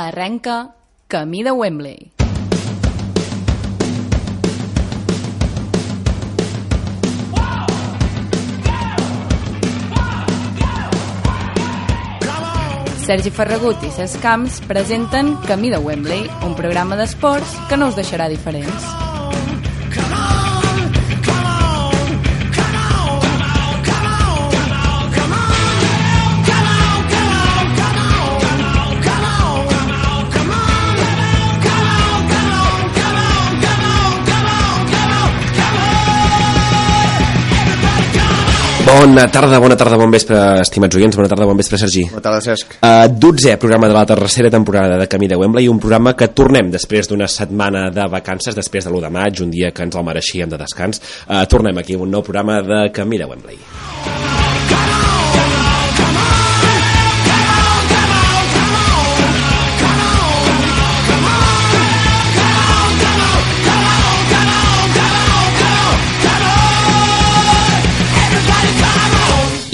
Arrenca Camí de Wembley. Sergi Ferragut i Cesc Camps presenten Camí de Wembley, un programa d'esports que no us deixarà diferents. Bona tarda, bona tarda, bon vespre, estimats oients. Bona tarda, bon vespre, Sergi. Bona tarda, Cesc. Uh, 12è programa de la tercera temporada de Camí de Wembley, un programa que tornem després d'una setmana de vacances, després de l'1 de maig, un dia que ens el mereixíem de descans. Uh, tornem aquí amb un nou programa de Camí de Wembley.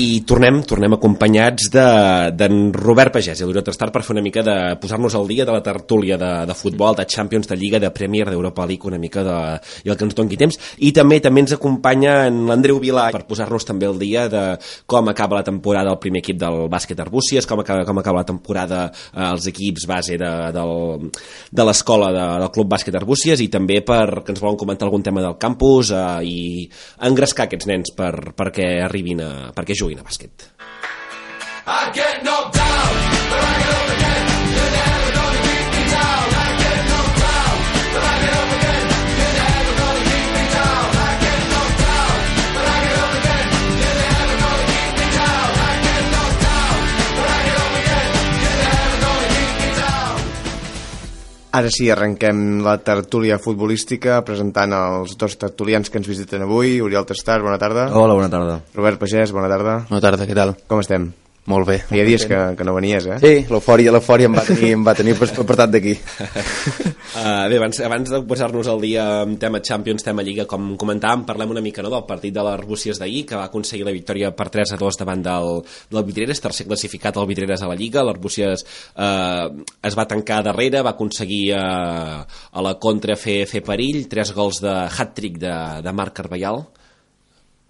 I tornem, tornem acompanyats de- d'en de, Robert Pagès i l'Oriol Trastar per fer una mica de posar-nos al dia de la tertúlia de, de futbol, de Champions, de Lliga, de Premier, d'Europa League, una mica de, i el que ens doni temps. I també també ens acompanya en l'Andreu Vilà per posar-nos també al dia de com acaba la temporada el primer equip del bàsquet Arbúcies, com acaba, com acaba la temporada eh, els equips base de, del, de l'escola de, del Club Bàsquet Arbúcies i també per que ens volen comentar algun tema del campus eh, i engrescar aquests nens per, perquè arribin a, perquè juguin a bàsquet. Ara sí, arrenquem la tertúlia futbolística presentant els dos tertulians que ens visiten avui. Oriol Tastar, bona tarda. Hola, bona tarda. Robert Pagès, bona tarda. Bona tarda, què tal? Com estem? Molt bé. Hi ha dies que, que no venies, eh? Sí, l'eufòria, l'eufòria em va tenir, em va tenir pers- apartat d'aquí. Uh, bé, abans, abans de posar-nos al dia amb tema Champions, tema Lliga, com comentàvem, parlem una mica no, del partit de l'Arbúcies d'ahir, que va aconseguir la victòria per 3 a 2 davant del, del Vidreres, tercer classificat al Vidreres a la Lliga. L'Arbúcies uh, es va tancar darrere, va aconseguir uh, a la contra fer, fer perill, tres gols de hat-trick de, de Marc Carballal.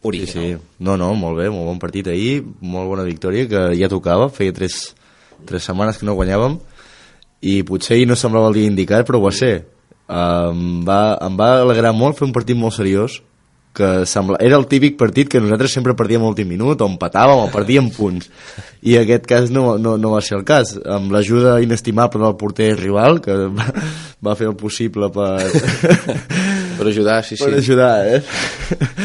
Uri, Sí, sí. No, no, molt bé, molt bon partit ahir, molt bona victòria, que ja tocava, feia tres, tres setmanes que no guanyàvem, i potser ahir no semblava el dia indicat, però ho va ser. Em va, em va alegrar molt fer un partit molt seriós, que sembla, era el típic partit que nosaltres sempre perdíem a l'últim minut, o empatàvem, o perdíem punts. I en aquest cas no, no, no va ser el cas. Amb l'ajuda inestimable del porter rival, que va, va fer el possible per, Per ajudar, sí, per sí. ajudar, eh?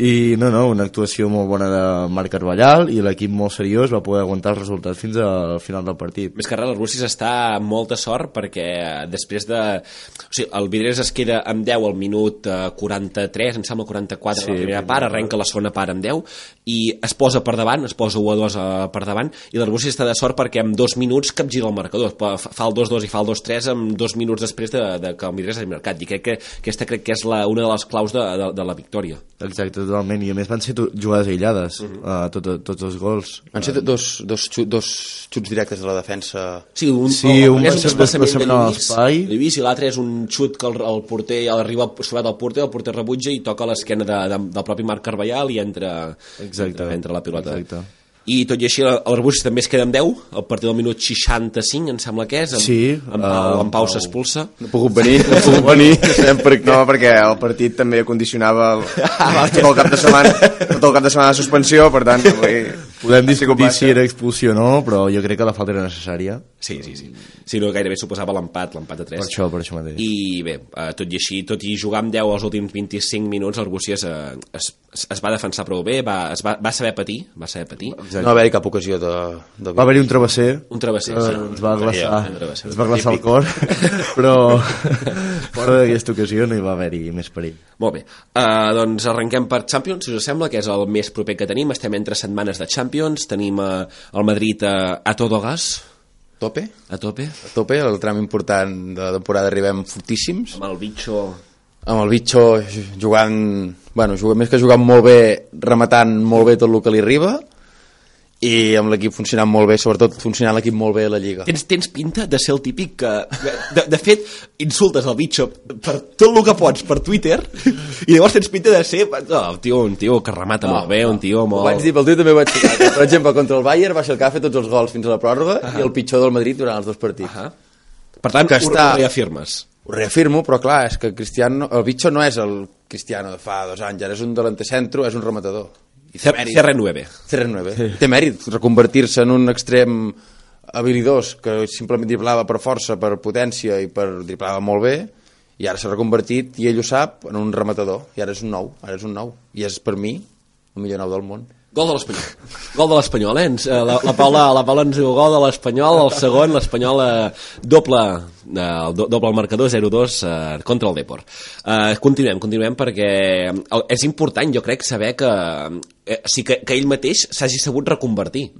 I no, no, una actuació molt bona de Marc Carballal i l'equip molt seriós va poder aguantar el resultat fins al final del partit. Més que res, el Russis està amb molta sort perquè eh, després de... O sigui, el Vidreres es queda amb 10 al minut eh, 43, em sembla 44 sí, la primera part, arrenca la segona part amb 10 i es posa per davant, es posa 1 a 2 eh, per davant i el Russis està de sort perquè amb dos minuts capgira el marcador. Pa- Fa el 2-2 i fa el 2-3 amb dos minuts després de, de que el Vidreres hagi marcat i crec que aquesta crec que és la, una de les claus de, de, de la victòria. Exacte, totalment. I a més van ser to- jugades aïllades, uh Mm. -huh. uh, tot, tots els gols. Van ser dos, dos, xu- dos xuts directes de la defensa. Sí, un, Sí, un és un desplaçament desplaçament a de Lluís, l'espai. Lluís i l'altre és un xut que el, el porter arriba sobat al porter, el porter rebutja i toca a l'esquena de, de, del propi Marc Carballal i entra, Exacte. entra, entra la pilota. Exacte. I tot i així l'Arbus també es queda amb 10, a partir del minut 65, em sembla que és, en, Sí, en, eh, Pau, en en Pau Pau. s'expulsa. No he pogut venir, no he pogut venir. Sabem per què. No, perquè el partit també condicionava el, Ah, tot el cap de setmana, tot el cap de setmana de suspensió, per tant, avui... Podem ha sigut discutir si baixa. eh? era expulsió o no, però jo crec que la falta era necessària. Sí, sí, sí. Si no, gairebé suposava l'empat, l'empat a 3. Per això, per això mateix. I bé, eh, tot i així, tot i jugar amb 10 els últims 25 minuts, l'Arbúcies eh, es, es, es va defensar prou bé, va, es va, va saber patir, va saber patir. No va haver cap ocasió de... de... Va haver-hi un travesser Un travesser, Eh, sí. ens va glaçar, Un travesser. ens va glaçar el cor, però fora d'aquesta ocasió no hi va haver-hi més perill. Molt bé. Uh, doncs arrenquem per Champions, si us sembla, que és el més proper que tenim. Estem entre setmanes de Champions. Tenim uh, el Madrid uh, a todo gas, Tope? a tope. A tope, el tram important de la temporada arribem fortíssims. Amb el bitxo... Amb el Bitxo jugant... Bueno, jugant, més que jugant molt bé, rematant molt bé tot el que li arriba. i amb l'equip funcionant molt bé, sobretot funcionant l'equip molt bé a la Lliga. Tens, tens pinta de ser el típic que... De, de fet, insultes el bitxo per tot el que pots per Twitter i llavors tens pinta de ser oh, un, tio, un tio que remata No, molt bé, un tio Ho molt... vaig dir pel tio, també ho vaig dir. Per exemple, contra el Bayern va ser el que va fer tots els gols fins a la pròrroga uh -huh. i el pitjor del Madrid durant els dos partits. Uh -huh. Ah. Per tant, Que ho, està- ho reafirmes. Ho reafirmo, però clar, és que Cristiano, el Bitxo no és el Cristiano de fa dos anys, ara és un delantecentro, és un rematador. I té mèrit. CR9. CR9. Sí. Té mèrit reconvertir-se en un extrem habilidós que simplement driblava per força, per potència i per driblava molt bé i ara s'ha reconvertit, i ell ho sap, en un rematador. I ara és un nou, ara és un nou. I és, per mi, el millor nou del món. Gol de l'Espanyol. Gol de l'Espanyol, eh? Ens, eh, la, la, Paula, la Paula ens diu gol de l'Espanyol, el segon, l'Espanyol eh, doble, eh, el do, doble al marcador, 0-2 eh, contra el Depor. Eh, continuem, continuem, perquè el, és important, jo crec, saber que, eh, sí que, que ell mateix s'hagi sabut reconvertir,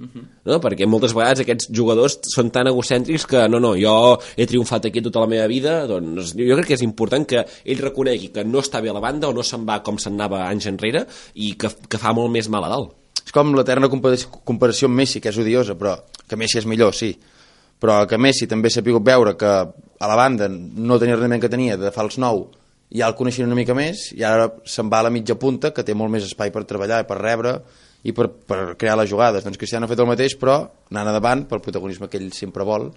no? perquè moltes vegades aquests jugadors són tan egocèntrics que no, no, jo he triomfat aquí tota la meva vida, doncs jo crec que és important que ell reconegui que no està bé a la banda o no se'n va com se'n anava anys enrere i que, que fa molt més mal a dalt. És com l'eterna compara- comparació amb Messi, que és odiosa, però que Messi és millor, sí. Però que Messi també s'ha pogut veure que a la banda no tenia el rendiment que tenia de fals nou, ja el coneixien una mica més, i ara se'n va a la mitja punta, que té molt més espai per treballar, i per rebre i per, per crear les jugades. Doncs Cristiano ha fet el mateix, però anant a davant pel protagonisme que ell sempre vol,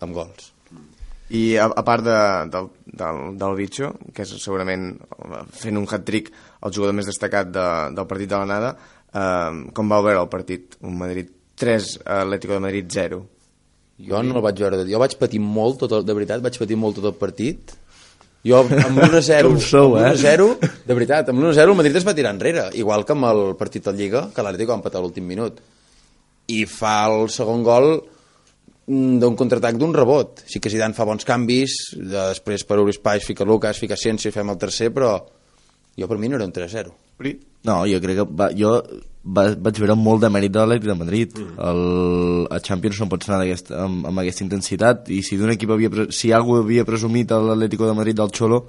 amb gols. I a, a part de, del, del, del Bitxo, que és segurament eh, fent un hat-trick el jugador més destacat de, del partit de l'anada, eh, com va veure el partit? Un Madrid 3, Atlético de Madrid 0. Jo no el vaig veure tot. Jo vaig patir molt, tot el, de veritat, vaig patir molt tot el partit. Jo amb l'1-0, Com sou, eh? amb l'1-0, de veritat, amb l'1-0 el Madrid es va tirar enrere, igual que amb el partit de Lliga, que l'Atlético va empatar a l'últim minut. I fa el segon gol mm, d'un contraatac d'un rebot. Sí que Zidane fa bons canvis, de- després per obrir espais fica Lucas, fica Ciència i fem el tercer, però jo per mi no era un 3-0. Uri? No, jo crec que va, jo va, vaig veure molt de mèrit de l'Atlètic de Madrid. Mm. El, a Champions no pots anar d'aquest- amb, amb aquesta intensitat i si d'un equip havia, pre- si algú havia presumit a l'Atlético de Madrid del Xolo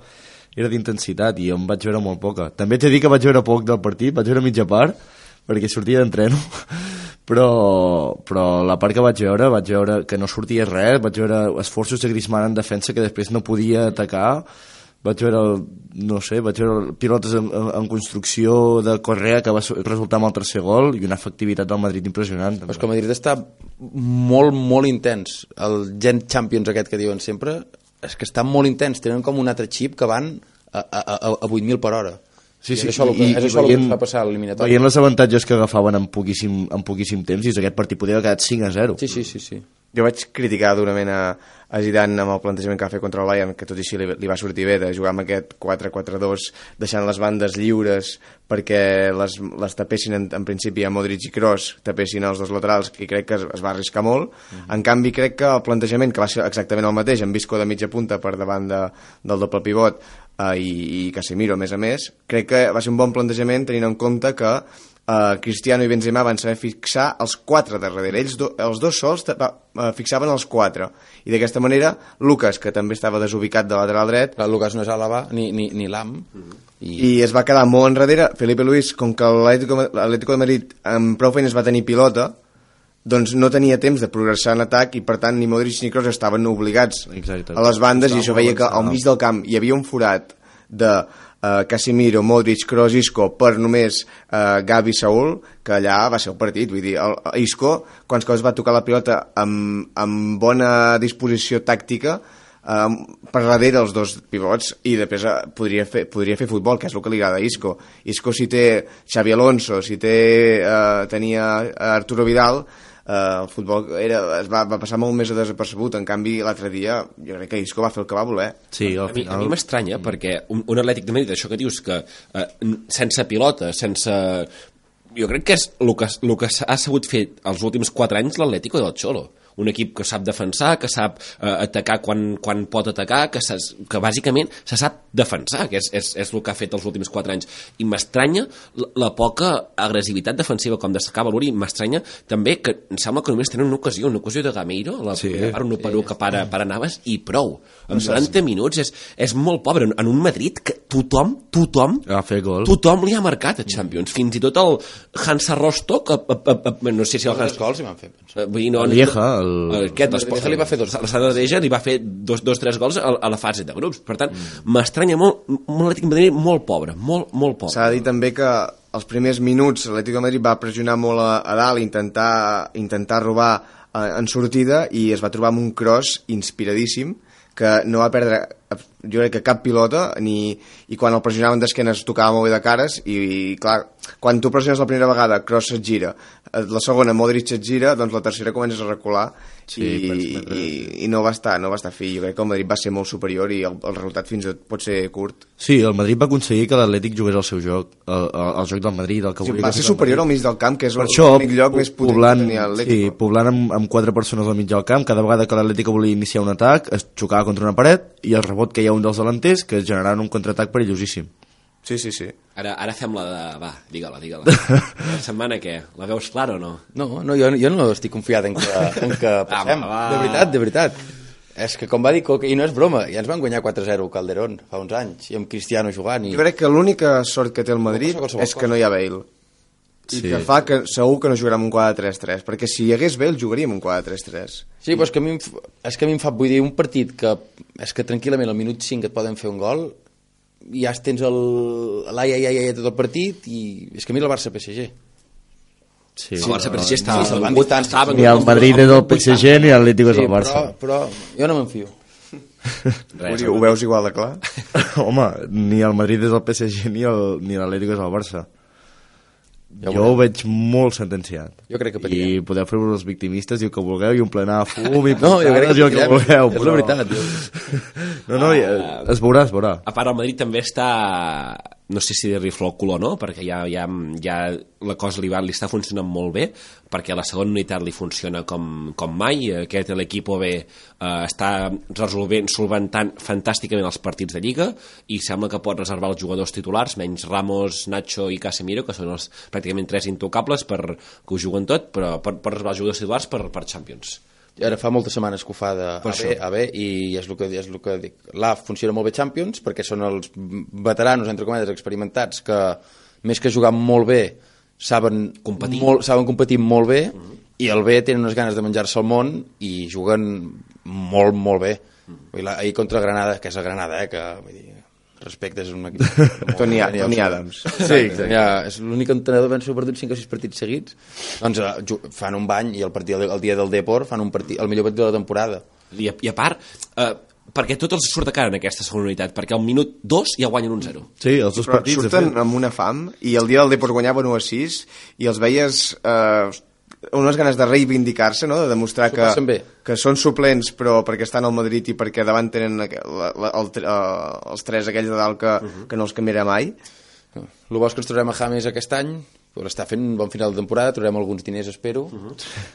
era d'intensitat i jo en vaig veure molt poca. També t'he dit que vaig veure poc del partit, vaig veure mitja part perquè sortia d'entreno però, però la part que vaig veure vaig veure que no sortia res vaig veure esforços de Griezmann en defensa que després no podia atacar vaig veure, el, no sé, vaig veure pilotes en, en, en construcció de Correa que va su- resultar amb el tercer gol i una efectivitat del Madrid impressionant. Però és que el Madrid està molt, molt intens. El Gen Champions aquest que diuen sempre, és que està molt intens. Tenen com un altre xip que van a, a, a, a 8.000 per hora. I és això el que, és això el que ens va passar a l'eliminatori. Veient les avantatges que agafaven en poquíssim, en poquíssim temps i aquest partit podria haver quedat 5 a 0. Sí, sí, sí, sí. Jo vaig criticar durament a, a Zidane amb el plantejament que va fer contra el Bayern, que tot i així li, li va sortir bé de jugar amb aquest 4-4-2, deixant les bandes lliures perquè les, les tapessin en, en principi a Modric i Kroos, tapessin els dos laterals, i crec que es, es va arriscar molt. Mm -hmm. En canvi, crec que el plantejament, que va ser exactament el mateix, amb Visco de mitja punta per davant de, del doble pivot eh, i, i Casemiro, a més a més, crec que va ser un bon plantejament tenint en compte que eh, Cristiano i Benzema van saber fixar els quatre de darrere. Ells do, els dos sols ta- va, eh, fixaven els quatre. I d'aquesta manera, Lucas, que també estava desubicat de lateral dret, Clar, Lucas no és Alaba ni, ni, ni Lam. I, i es va quedar molt enrere, Felipe Luis, com que l'Atlético l'Atlético de Madrid amb prou feines va tenir pilota, doncs no tenia temps de progressar en atac i per tant ni Modric ni Kroos estaven obligats Exacte. a les bandes i Estava això molt veia que al avançat. mig del camp hi havia un forat de eh, Casimiro, Modric, Kroos, Isco per només eh, Gavi Saúl que allà va ser el partit vull dir, el, el Isco, quants cops va tocar la pilota amb, amb bona disposició tàctica eh, per darrere els dos pivots i després eh, podria fer, podria fer futbol que és el que li agrada a Isco Isco si té Xavi Alonso si té, eh, tenia Arturo Vidal eh, el futbol era, es va, va passar molt més desapercebut en canvi l'altre dia jo crec que Isco va fer el que va voler sí al A mi, a final- mi m'estranya perquè un, un atlètic de Madrid, això que dius, que eh, n- sense pilota, sense... Jo crec que és el que, el que ha sabut fer els últims 4 anys l'Atlético del Cholo. un equip que sap defensar, que sap eh, atacar quan, quan pot atacar, que, se, que bàsicament se sap defensar, Ah, que és, és, és el que ha fet els últims 4 anys. I m'estranya la, la poca agressivitat defensiva, com destacava l'Uri, m'estranya també que em sembla que només tenen una ocasió, una ocasió de Gameiro, la sí, Sí. primera part, un operó que para, para Navas, i prou. En 70 minuts és, és molt pobre. En, en un Madrid que tothom, tothom, Va fer gol. tothom li ha marcat a Champions. Fins i tot el Hansa Rostock, a, a, a, a, no sé si el Quants Hansa... gols hi van fer? penso? Eh, Vull dir, no, El no- Lieja, eh, el- Aquest, El Lieja li va fer dos. La Sada Deja li va fer dos, dos tres gols a, a la fase de grups. Per tant, m'estranya molt, molt l'Atlètic de Madrid molt pobre, molt, molt pobre. S'ha de dir també que els primers minuts l'Atlètic de Madrid va pressionar molt a, a dalt, intentar, intentar robar eh, en sortida i es va trobar amb un cross inspiradíssim que no va perdre ab- jo crec que cap pilota ni, i quan el pressionaven d'esquenes tocava molt bé de cares i, i clar, quan tu pressiones la primera vegada Kroos et gira, eh, la segona Modric et gira, doncs la tercera comences a recular Sí, i, penso que- i, i no va estar, no va estar fi, jo crec que el Madrid va ser molt superior i el, el resultat fins i tot pot ser curt Sí, el Madrid va aconseguir que l'Atlètic jugués al seu joc, el, el, el joc del Madrid, el que Sí, volia va que ser fes el superior al Madrid. mig del camp, que és per això, l'únic lloc po- més potent poblant, que tenia sí, l'Atlético. poblant amb, amb quatre persones al mig del camp, cada vegada que l'Atlético volia iniciar un atac es xocava contra una paret i el rebot que hi ha un dels delanters que es generava un contraatac perillosíssim. Sí, sí, sí. Ara, ara fem la de... Va, digue-la, digue-la. La setmana què? La veus clara o no? No, no, jo, jo no estic confiat en que, en que passem. va, va. De veritat, de veritat. És que, com va dir Coque, i no és broma, ja ens van guanyar 4-0 Calderón fa uns anys, i amb Cristiano jugant, i Jo crec que l'única sort que té el Madrid Qualsevol cosa, és que no hi ha Bale. I Sí. que fa que segur que no jugarà amb un 4-3-3, perquè si hi hagués Bale jugaria amb un 4-3-3. Sí, però és que a mi, em f- és que a mi em fa, vull dir, un partit que és que tranquil·lament al minut 5 et poden fer un gol i ja tens el- l'ai, ai, ai, ai, tot el partit i és que mira el Barça-PSG. Sí, el Barça PSG està... Sí, se'l van dir tant. estava- Ni el Madrid és el PSG ni l'Atlético és sí, el Barça. Però, però jo no me'n fio. Res, Uri, ho veus igual de clar? Home, ni el Madrid és el PSG ni el- ni l'Atlético és el Barça. Ja ho jo ho veig molt sentenciat. Jo crec que I patirem. podeu fer-vos els victimistes i el que vulgueu i omplenar a fum i No, jo crec que i el que patirem. vulgueu. És la però- veritat. No, Ah. no, ja- es veurà, es veurà. A part, el Madrid també està no sé si dir-li cul o no, perquè ja, ja, ja la cosa li, va, li està funcionant molt bé, perquè a la segona unitat li funciona com, com mai, aquest l'equip OB eh, està resolvent, solventant fantàsticament els partits de Lliga i sembla que pot reservar els jugadors titulars, menys Ramos, Nacho i Casemiro, que són els pràcticament tres intocables per, que ho juguen tot, però pot, pot reservar els jugadors titulars per, per Champions. Ara fa moltes setmanes que ho fa de Per AB, això. AB i és el que, és el que dic. La funciona molt bé Champions perquè són els veteranos, entre cometes, experimentats que més que jugar molt bé saben Competir. Mm-hmm. molt, saben competir molt bé i el B tenen unes ganes de menjar-se el món i juguen molt, molt bé. Mm-hmm. Vull dir, la- ahir contra Granada, que és el Granada, eh, que vull dir, respecte és un equip... molt Tony, genial. Tony Adams. Sí, ja, és l'únic entrenador que han perdut 5 o 6 partits seguits. Doncs eh, ju- fan un bany i el, partit, el dia del Depor fan un partit, el millor partit de la temporada. I a, i a part, eh, perquè tot els surt de cara en aquesta segona unitat, perquè al minut 2 ja guanyen un 0. Sí, els dos Però partits, de surten fet. amb una fam i el dia del Depor guanyaven 1 a 6 i els veies eh, unes ganes de reivindicar-se, no? de demostrar S'ho que, passen bé. que són suplents però perquè estan al Madrid i perquè davant tenen aqu- la, la, el, tre- eh, els tres aquells de dalt que, que no els canviarà mai. El bo és que ens trobarem a James aquest any, però està fent un bon final de temporada, trobarem alguns diners, espero.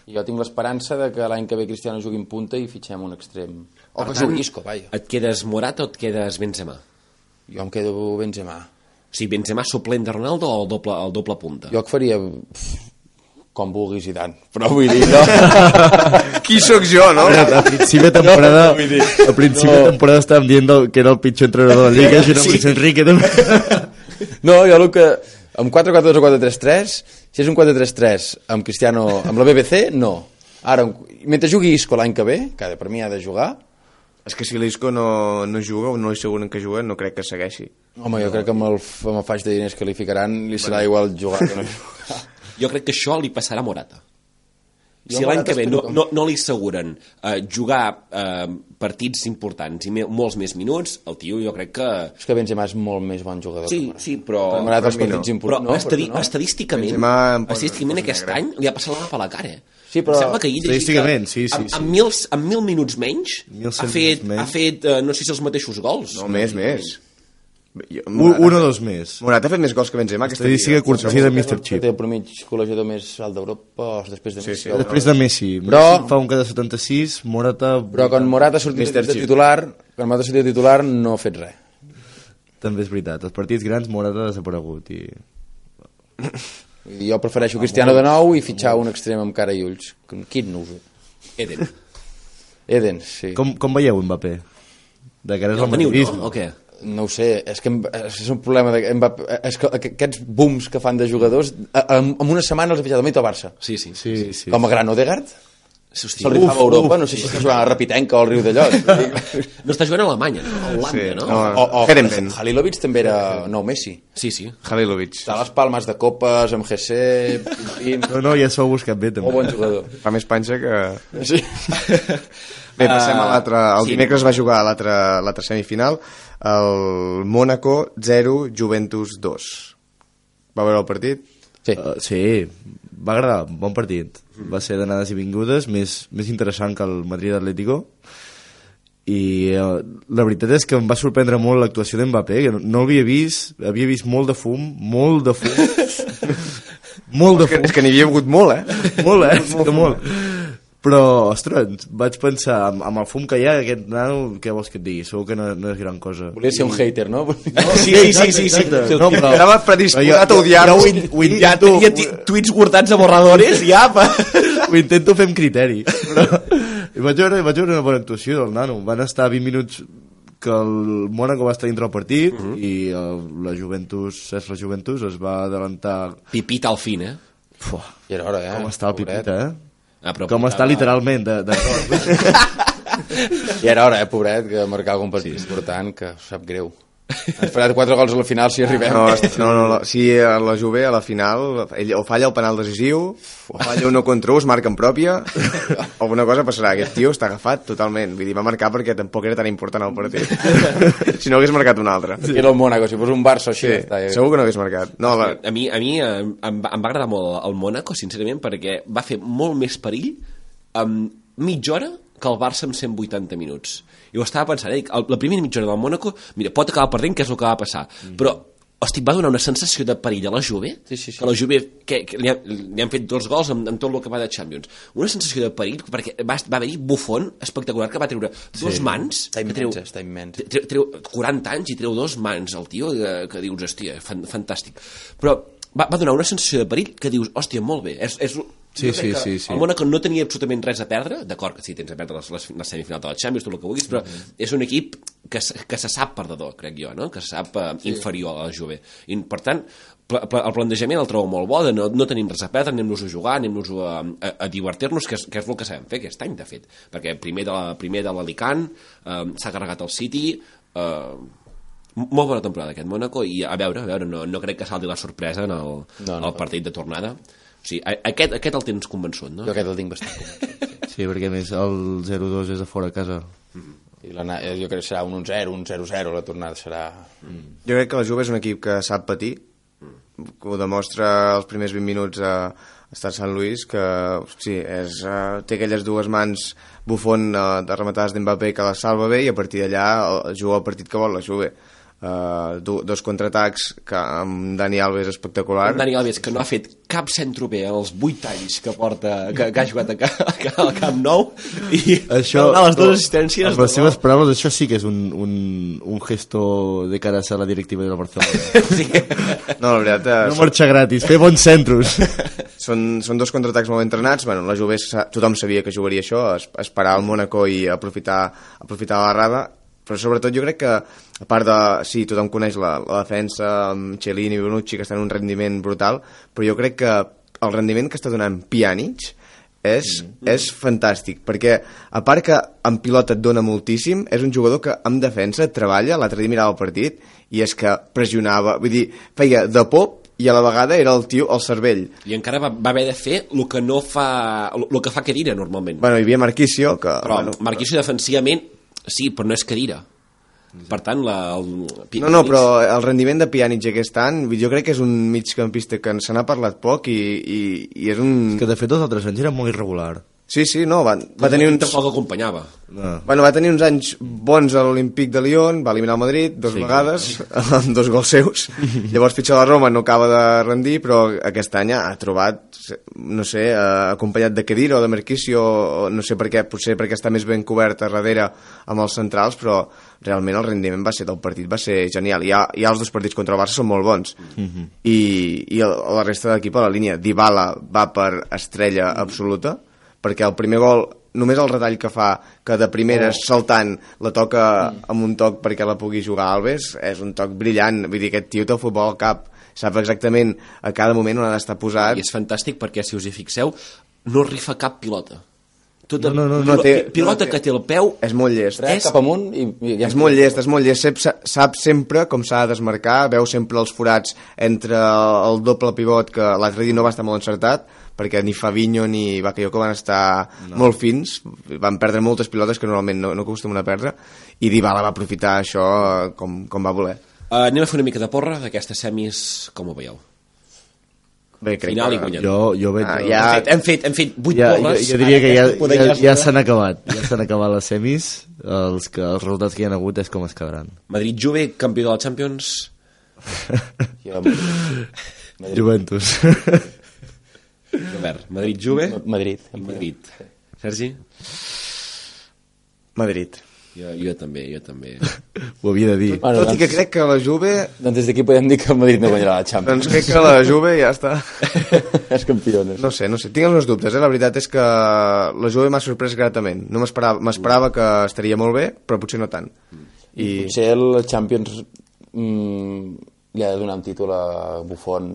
I jo tinc l'esperança de que l'any que ve Cristiano jugui en punta i fitxem un extrem. O que jugui Isco, vaja. Et quedes Morata o et quedes Benzema? Jo em quedo Benzema. O sigui, Benzema suplent de Ronaldo o el doble, el doble punta? Jo que faria pff, com vulguis i tant, però vull dir, no. Qui sóc jo, no? Mira, a principi de temporada, a principi de temporada estàvem dient del- que era el pitjor entrenador de la Lliga, així era Luis Enrique, també. No, jo el que... Amb 4-4-2 o 4-3-3, si és un 4-3-3 amb Cristiano... Amb la BBC, no. Ara, un- mentre jugui Isco l'any que ve, que per mi ha de jugar, És que si l'Isco no, no juga o no és segur en que juga, no crec que segueixi. home, jo crec que amb el, f- amb el faig de diners que li ficaran li serà igual jugar que no jugar. Jo crec que això li passarà a Morata. Jo Si a l'any Morata que ve no, espero que- no, no li asseguren eh, jugar eh, partits importants i me, molts més minuts, el tio jo crec que... És que Benzema és molt més bon jugador. Sí, sí, però... M'ha agradat els per mi no. partits Però importants. no, No, estadi per què no? estadísticament, Benzema em posa- estadísticament em posa aquest any negre. li ha passat la mà per la cara. eh? Sí, però- Em Sembla que ahir llegia Estadísticament, sí, sí, amb, sí. Amb, mil, amb mil minuts menys, Mil ha cent fet, minuts menys. ha fet eh, no sé si els mateixos gols. No, més, més. Jo- Un, Morata- un o dos més. Morata ha fet més gols que Benzema aquesta Estadística lliga. cortesia de Mr. Que té Chip. el promig col·legiador més alt d'Europa o després de Sí, sí. Messi. Després de Messi. Però- Messi fa un cada 76, Morata... Però quan Morata ha sortit Mr. de Chip. titular, quan Morata ha sortit de titular no ha fet res. També és veritat. Els partits grans, Morata ha desaparegut. I... Vull dir, Jo Ah, prefereixo Cristiano de nou i fitxar un extrem amb cara i ulls. Quin nus. Eden. Eden, sí. Com, com veieu Mbappé? De cara Ja al el teniu, madridisme. no? O què? No ho sé, és que em- és un problema de, em va, és que aqu- aquests booms que fan de jugadors a- a- en, en una setmana els ha fitxat a Mito Barça Sí, sí. sí. Sí, sí. com a gran Odegaard Hosti, se'l rifava a Europa, no sé si està jugant a Rapitenca o al Riu de Llot No està jugant a Alemanya, no? A Holanda, Sí, no? no. o, o Herenfen. Halilovic també era nou Messi Sí, sí. Halilovic. està a les palmes de copes amb GC Pintín, No, no, ja s'ho ha buscat bé, també. molt bon jugador Fa més panxa que... sí. Bé, passem a l'altre... El sí. dimecres va jugar a l'altre l'altra semifinal, el Mónaco 0, Juventus 2. Va veure el partit? Sí. Uh, sí, va agradar, bon partit. Va ser d'anades i vingudes, més, més interessant que el Madrid Atlético. I uh, la veritat és que em va sorprendre molt l'actuació d'Mbappé, que no, no l'havia vist, havia vist molt de fum, molt de fum, molt de Que, fum, és que n'hi havia hagut molt, eh? molt, eh? És que molt. Però, ostres, vaig pensar, amb, amb el fum que hi ha, aquest nano, què vols que et digui? Segur que no, no és gran cosa. volia ser un hater, no? Sí, sí, sí, sí, sí. No, però... Estava predisposat a odiar-lo. ho, in- ho Ja intento, tenia ti- tuits guardats a borradores, ja, pa. ho intento fer amb criteri però i vaig, veure, vaig veure una bona actuació del nano van estar 20 minuts que el Mónaco va estar dintre del partit i el, la Juventus és la Juventus es va adelantar Pipita al fin, eh? Fuà, I era hora, eh? com està el Pobret. Pipita eh? Ah, però com està apuntava- literalment de, de... I era hora, eh, pobret, que marcar algun partit sí, important, que sap greu. Ens farà quatre gols a la final si arribem. No, est- no, no, la- si eh, la Juve a la final ell o falla el penal decisiu, o falla un 1 contra 1, es marca en pròpia, alguna cosa passarà. Aquest tio està agafat totalment. Vull dir, va marcar perquè tampoc era tan important el partit. si no hagués marcat un altre. Sí. Era el Mónaco, si fos un Barça o així, Sí, sí. està. eh? segur que no hagués marcat. No, la, A mi, a mi eh, em, va, em va agradar molt el Mónaco, sincerament, perquè va fer molt més perill amb mitja hora que el Barça amb 180 minuts. I ho estava pensant, eh? dic, el, la primera mitja hora del Mónaco, mira, pot acabar perdent, que és el que va passar, mm. però Hosti, va donar una sensació de perill a la Juve, Sí, sí, sí. que la Juve que, que li, han, li han fet dos gols amb, amb tot el que va de Champions. Una sensació de perill, perquè va, va haver-hi Buffon espectacular, que va treure dos mans... Està que treu- immens, està immens. treu, treu 40 anys i treu dos mans al tio que, que dius, hòstia, fan, fantàstic però va, va donar una sensació de perill que dius, hòstia, molt bé és, és, Sí, jo crec sí, que sí, sí. el Mónaco no tenia absolutament res a perdre d'acord que sí, tens a perdre les, les, la semifinal de la Champions tot el que vulguis, però és un equip que, se- que se sap perdedor, crec jo no? que se sap eh, inferior a la Juve i per tant, pla, pla, el plantejament el trobo molt bo de no, no tenim res a perdre, anem-nos a jugar anem-nos a, a, a divertir-nos que, és, que és el que sabem fer aquest any, de fet perquè primer de la- primer de l'Alicant eh, s'ha carregat el City eh, M- molt bona temporada aquest Mónaco i a veure, a veure no, no crec que salti la sorpresa en el, no, no, el partit de tornada o sigui, a- aquest, aquest el tens convençut no? Jo aquest el tinc bastant convençut. sí, perquè a més el 0-2 és a fora a casa I la, jo crec que serà un 1-0, un 0-0, la tornada serà... Mm. Jo crec que la Juve és un equip que sap patir, que ho demostra els primers 20 minuts a estar Sant Lluís, que sí, és, eh, té aquelles dues mans bufon eh, de rematades d'Mbappé que la salva bé i a partir d'allà eh, juga el partit que vol la Juve. Uh, dos contraatacs que amb Dani Alves espectacular En Dani Alves, que no ha fet cap centre bé en els 8 anys que porta que, que ha jugat a, ca, al Camp Nou i això, a les dues assistències amb les seves paraules, això sí que és un, un, un gesto de cara a la directiva del Barcelona sí. no, la veritat, eh, no marxa gratis, fer bons centros Són, són dos contraatacs molt ben entrenats. Bueno, la Juve, sa- tothom sabia que jugaria això, es- esperar al Mónaco i aprofitar, aprofitar la rada, però sobretot jo crec que, a part de... Sí, tothom coneix la, la defensa, amb Cellini i Bonucci, que estan en un rendiment brutal, però jo crec que el rendiment que està donant Pjanic és, és fantàstic, perquè a part que en pilota et dona moltíssim, és un jugador que en defensa treballa, l'altre dia mirava el partit, i és que pressionava, vull dir, feia de pop i a la vegada era el tio al cervell. i encara va, va haver de fer el que no fa el que fa Cadira normalment Bueno, hi havia Marquicio, que... però bueno, Marquisio defensivament sí, però no és Cadira per tant la, el, no, no, però el rendiment de Pjanic aquest any, vull dir, jo crec que és un migcampista que se n'ha parlat poc i, i, i és un... que de fet els altres anys era molt irregular Sí, sí, no, va, va tenir uns... Tampoc acompanyava. No. Bueno, va tenir uns anys bons a l'Olímpic de Lyon, va eliminar el Madrid dos sí, vegades, amb dos gols seus. Llavors fitxa la Roma, no acaba de rendir, però aquest any ha trobat, no sé, eh, acompanyat de Kedira o de Merquicio, o no sé per què, potser perquè està més ben cobert a darrere amb els centrals, però realment el rendiment va ser del partit, va ser genial. Ja, ja els dos partits contra el Barça són molt bons. I, i el, la resta de l'equip a la línia. Dybala va per estrella absoluta, perquè el primer gol només el retall que fa que de primeres oh. saltant la toca Mm. amb un toc perquè la pugui jugar Alves és un toc brillant, vull dir, aquest tio té el futbol al cap sap exactament a cada moment on ha d'estar I posat és fantàstic perquè, si us hi fixeu, no rifa cap pilota. Tot No, no, no, pilota, no té- no pilota té- que té el peu... Eh, és molt llest Tres cap amunt i, i, i és molt llest, és molt llest. Sap, sap sempre com s'ha de desmarcar, veu sempre els forats entre el doble pivot, que l'altre dia no va estar molt encertat, perquè ni Fabinho ni Bakayoko van estar no. molt fins, van perdre moltes pilotes que normalment no, no acostumen a perdre, i Dybala va aprofitar això eh, com, com va voler. Uh, anem a fer una mica de porra d'aquestes semis, com ho veieu? Bé, crec Final i que... guanyador. Jo, jo veig... Ah, el- ja- Hem fet, hem fet, hem fet vuit ja, jo, porres. jo diria Ara que ja, aquesta podem ja, ja estar- s'han acabat. Ja s'han acabat les semis. Els, que, els resultats que hi ha hagut és com es quedaran. Madrid Juve, campió de la Champions. Jo, Juventus. Robert, Madrid Juve Madrid. i Madrid. Sergi? Madrid. Jo, jo també, jo també. Ho havia de dir. Bueno, Tot i que doncs- crec que la Juve... Doncs des d'aquí podem dir que el Madrid no guanyarà la Champions. Doncs crec que la Juve ja està... és campió. No? No sé, no sé. Tinc els meus dubtes, eh? La veritat és que la Juve m'ha sorprès gratament. No m'esperava m'esperava que estaria molt bé, però potser no tant. I... Potser la Champions mm, li ha de donar un títol a Buffon.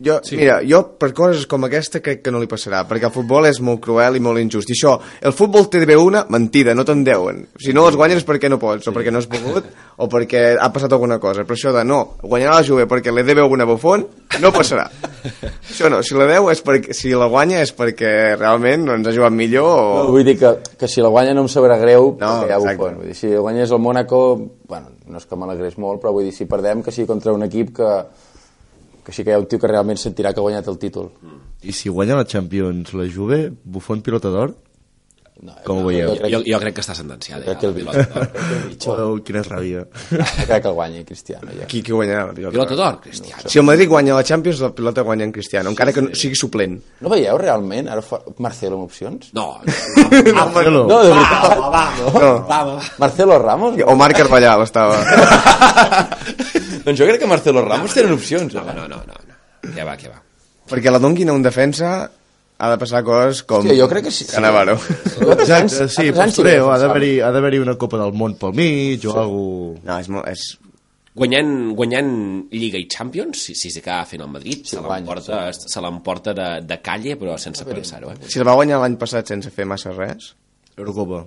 Jo, sí. Mira, jo per coses com aquesta crec que no li passarà, perquè el futbol és molt cruel i molt injust. I això, el futbol té bé una, mentida, no te'n deuen. Si no els guanyes és perquè no pots, o perquè no has pogut, o perquè ha passat alguna cosa. Però això de no, guanyarà la Juve perquè li deu alguna bufon, no passarà. això no, si la deu és perquè, si la guanya és perquè realment no ens ha jugat millor o... No, vull dir que, que si la guanya no em sabrà greu Oh. no, No, perquè hi ha exacte. Buffon. Vull dir, si guanyes el Mónaco, bueno, no és que m'alegrés molt, però vull dir, si perdem, que sigui contra un equip que, que sí que hi ha un tio que realment sentirà que ha guanyat el títol. I si guanya la Champions la Juve, Buffon pilota d'or? No, Com ho no, veieu? crec- Jo, jo crec que està sentenciada. eh, Crec que el pilota d'or. Oh, quina ràbia. Jo crec que el guanyi, Cristiano. Ja. Qui, qui guanyarà? la Pilota d'or, Cristiano. Si el Madrid guanya la Champions, la pilota guanya en Cristiano, encara que no, sigui suplent. No veieu realment ara fa... Marcelo amb opcions? No, no, no, no, Marcelo. No, de veritat. va, va, va, va, No. va, va. Marcelo Ramos? O Marc Carballal estava... doncs jo crec que Marcelo Ramos tenen opcions. No, no, no, no, no. Què va, què va. Perquè la donguin a un defensa ha de passar coses com... Hòstia, jo crec que sí. Canavaro. Exacte, sí, Altres anys sí que postureu, ha defensava. d'haver-hi ha d'haver-hi una Copa del Món pel mig o sí. alguna No, és, molt, és Guanyant, guanyant Lliga i Champions, si, si s'acaba fent el Madrid, sí, se guanya, l'emporta se l'emporta de, de calle, però sense pensar-ho. Eh? Si el va guanyar l'any passat sense fer massa res, Eurocopa.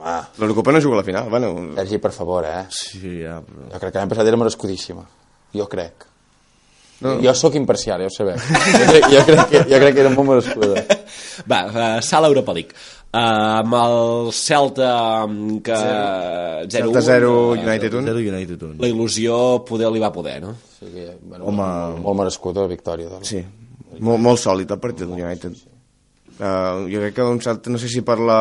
Home, l'Eurocopa no juga a la final. Bueno, Sergi, per favor, eh? Sí, ja, però... Jo crec que l'any passat era merescudíssima. Jo crec. No. Jo sóc imparcial, ja ho sabeu. Jo crec, jo crec, que, jo crec que era molt merescuda. Va, uh, sala Europa League. Uh, amb el Celta um, que... 0-1, Celta 0, eh, United 1. Zero United doncs. 1. La il·lusió poder li va poder, no? O sigui, bueno, Home. Molt, molt merescuda la victòria. Doncs. Sí, molt, molt sòlid el partit del United. Uh, jo crec que un cert, no sé si per la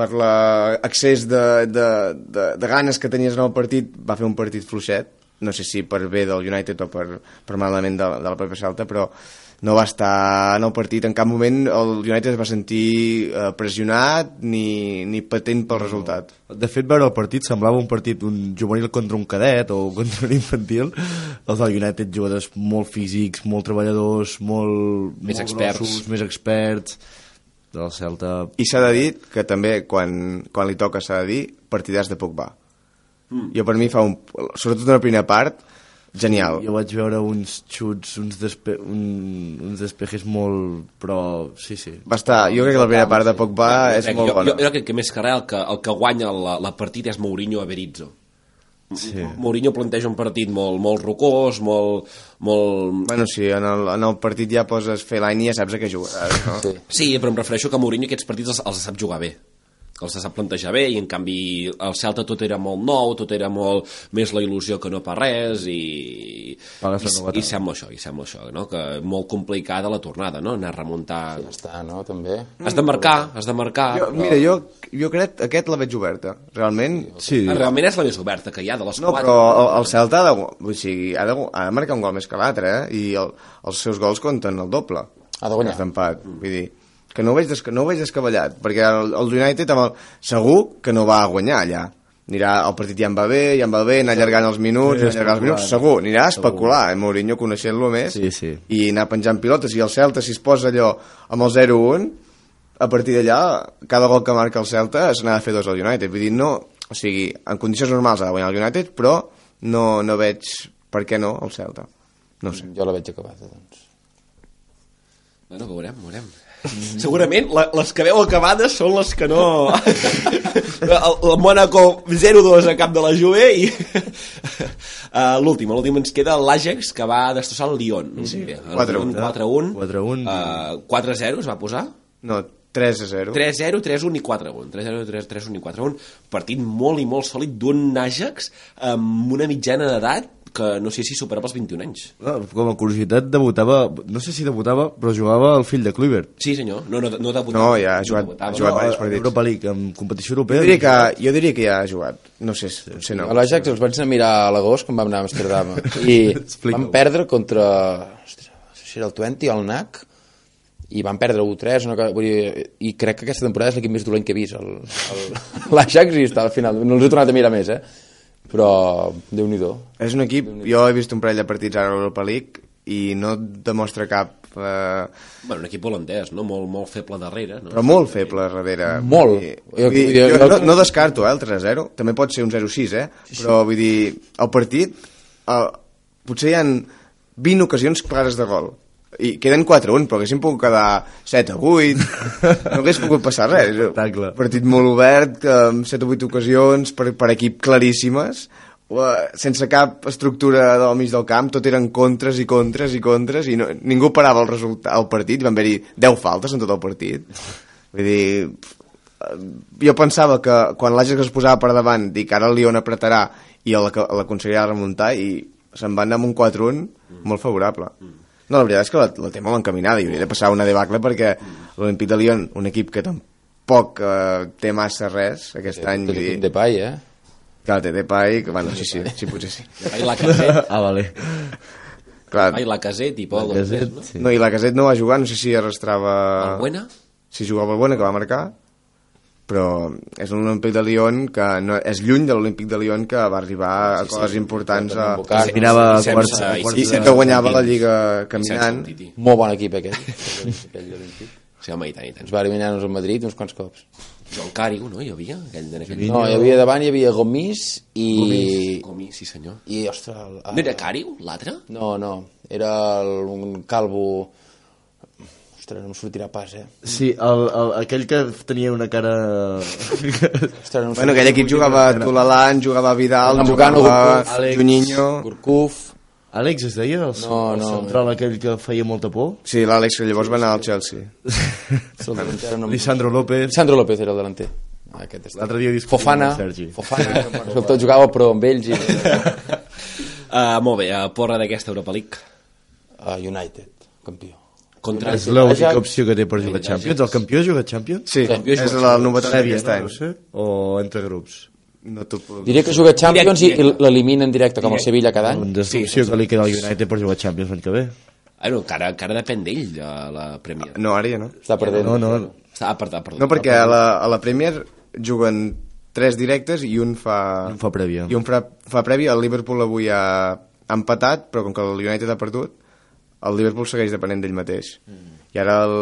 per l'accés de, de, de, de ganes que tenies en el partit va fer un partit fluixet no sé si per bé del United o per, per malament de, de la pròpia Salta però no va estar en el partit en cap moment el United es va sentir eh, pressionat ni, ni patent pel resultat De fet, veure el partit semblava un partit un juvenil contra un cadet o contra un infantil. Els del United, jugadors molt físics, molt treballadors, molt... Més molt experts. Grossos, més experts. Del Celta... I s'ha de dir que també, quan, quan li toca, s'ha de dir partidars de Pogba. Mm. Jo per mi fa un... Sobretot una primera part, genial. Jo vaig veure uns xuts, uns, despe un, uns despejes molt... Però, sí, sí. Va estar... Jo crec que la primera part de Pogba Ah, és Crec, Eh, molt jo, bona. Jo, jo crec que més que res el que, el que guanya la, la partida és Mourinho a Berizzo. sí. Mourinho planteja un partit molt, molt rocós, molt, molt, Bueno, sí, en el, en el partit ja poses Fellaini i ja saps a què jugaràs, no? Sí. Sí, però em refereixo que Mourinho aquests partits els, els sap jugar bé. els sap plantejar bé i en canvi el Celta tot era molt nou, tot era molt més la il·lusió que no per res i, Pagues la i, novetat. i sembla això, i sembla això, no? que molt complicada la tornada, no? anar a remuntar... Sí. Està, no, també? Has de marcar, has de marcar... Jo, però- mira, jo, jo crec que aquest la veig oberta, realment. Sí, Realment és la més oberta que hi ha de les No, quatre. però el, el Celta ha de, gu- o sigui, ha, de, gu- ha de marcar un gol més que l'altre, eh? I el, els seus gols compten el doble. Ha de guanyar. Aquest empat, vull dir, que no ho veig, desca, no ho veig descabellat, perquè el, el United amb el, segur que no va a guanyar allà. Anirà, el partit ja en va bé, ja en va bé, anar allargant els minuts, Sí, anar allargant els minuts, segur, anirà a especular, eh, Mourinho coneixent-lo més, Sí, sí. i anar penjant pilotes, i el Celta si es posa allò amb el 0-1, a partir d'allà, cada gol que marca el Celta se n'ha de fer dos al United. Vull dir, no... O sigui, en condicions normals ha de guanyar el United, però no, no veig per què no el Celta. No ho sé. Jo la veig acabada, doncs. Bueno, veurem, veurem. Segurament la, les que veu acabades són les que no... el, el Mónaco 0-2 a cap de la Juve i uh, l'última, l'última ens queda l'Àgex que va destrossar el Lyon. No sí, 4-1. 4-1. 4-1. Uh, 4-0 es va posar. No, 3 a 0. 3-0, 3-1 i 4-1. 3-0, 3-1 3-1 i 4-1. Partit molt i molt sòlid d'un Àgex amb una mitjana d'edat que no sé si superava els 21 anys. No, com a curiositat, debutava... No sé si debutava, però jugava el fill de Kluivert. Sí, senyor. No, no, no debutava. No, ja ha jugat- debutava. ha jugat a diversos partits. Europa League, en competició Jo europea. diria, que, jo diria que ja ha jugat. No sé, si- potser no. A l'Ajax els vaig anar a mirar a l'agost quan vam anar a Amsterdam i Explica-ho. van perdre contra... Ostres, no sé si era el 20 o el NAC i van perdre 1-3 una cosa, vull dir, i crec que aquesta temporada és l'equip més dolent que he vist el- el- l'Ajax i està al final no els he tornat a mirar més eh? però déu nhi És un equip... Jo he vist un parell de partits ara a l'Europa League i no et demostra cap... Eh, Bueno, un equip holandès, no? Molt, molt feble darrere, no? però molt feble darrere. Molt. Vull dir, Jo- vull dir, jo- jo no, jo- no descarto eh, el 3-0, també pot ser un 0-6, eh? però vull dir, el partit, eh, potser hi han 20 ocasions clares de gol, i queden 4-1, però haguéssim pogut quedar 7 a 8, no hagués pogut passar res. Espectacle. Partit molt obert, eh, amb 7 o 8 ocasions, per, per equip claríssimes, eh, sense cap estructura del mig del camp, tot eren contres i contres i contres, i no, ningú parava el, resultat, el partit, van haver-hi 10 faltes en tot el partit. Vull dir, jo pensava que quan l'Àgex es posava per davant dic ara el Lyon apretarà i el- l'aconseguirà remuntar i se'n va anar amb un 4-1 Mm. molt favorable no, la veritat és que la, la té molt encaminada i hauria de passar una debacle perquè Mm. l'Olympic de Lyon, un equip que tampoc eh, té massa res aquest any vull dir, de pai eh? clar, té Depay que, bueno, sí, sí, sí, potser sí Ai, la caseta. Ah, vale. clar, Ai, la caseta i Pol. Gazet, No? sí. no, i la Caset ah. no va jugar, no sé si arrastrava Buena? si jugava el Bona, que va marcar, però és un Olímpic de Lyon que no, és lluny de l'Olímpic de Lyon que va arribar a coses importants a... convocat, Sí, mirava sense- quarts- sense- quarts I de- sempre guanyava la Lliga caminant. Sense Titi. molt bon equip aquest, aquell olímpic. Sí, home, i tant, i tant. ens va eliminar-nos el Madrid uns quants cops Joan Càrigo, no? Hi havia? Aquell, en aquell... no, hi havia davant, hi havia Gomis i... Comi, sí senyor. i ostres, el- No era Càrigo, l'altre? No, no, era el, un calvo... Ostres, no em sortirà pas, eh? Sí, el, el, aquell que tenia una cara... Ostres, no em Bueno, sortirà. aquell equip jugava a Tulalan, jugava a Vidal, Lambucano, jugava Goku, a Alex. Juninho... Curcuf... Àlex es deia? El, No, el no. central aquell que feia molta por? Sí, l'Àlex, que llavors va anar al Chelsea. El delanter, no em- Lisandro López. Lisandro López era el delanter. Aquest és- L'altre dia discutíem Fofana, amb el Sergi. Fofana, sobretot jugava però amb ells i Uh, molt bé, uh, porra d'aquesta Europa League. uh, United, campió. Contra... És l'única opció que té per jugar a Champions. El campió juga a Champions? Sí, és la novetat Sèrie, d'aquest no? any. No sé. O entre grups? No t'ho puc- Diria que juga Champions Directe, i directe. l'elimina en directe com el Sevilla cada any. Una opció que li queda al United per jugar a Champions l'any que ve. Ah, no, encara, encara depèn d'ell, de la Premier. No, ara ja no. Està perdent. No, no, Està apartat, perdó. No, perquè Ah, a la, a la Premier juguen tres directes i un fa... Un fa prèvia. I un fa, fa prèvia. El Liverpool avui ha, ha empatat, però com que el United ha perdut, el Liverpool segueix depenent d'ell mateix. Mm. I ara el,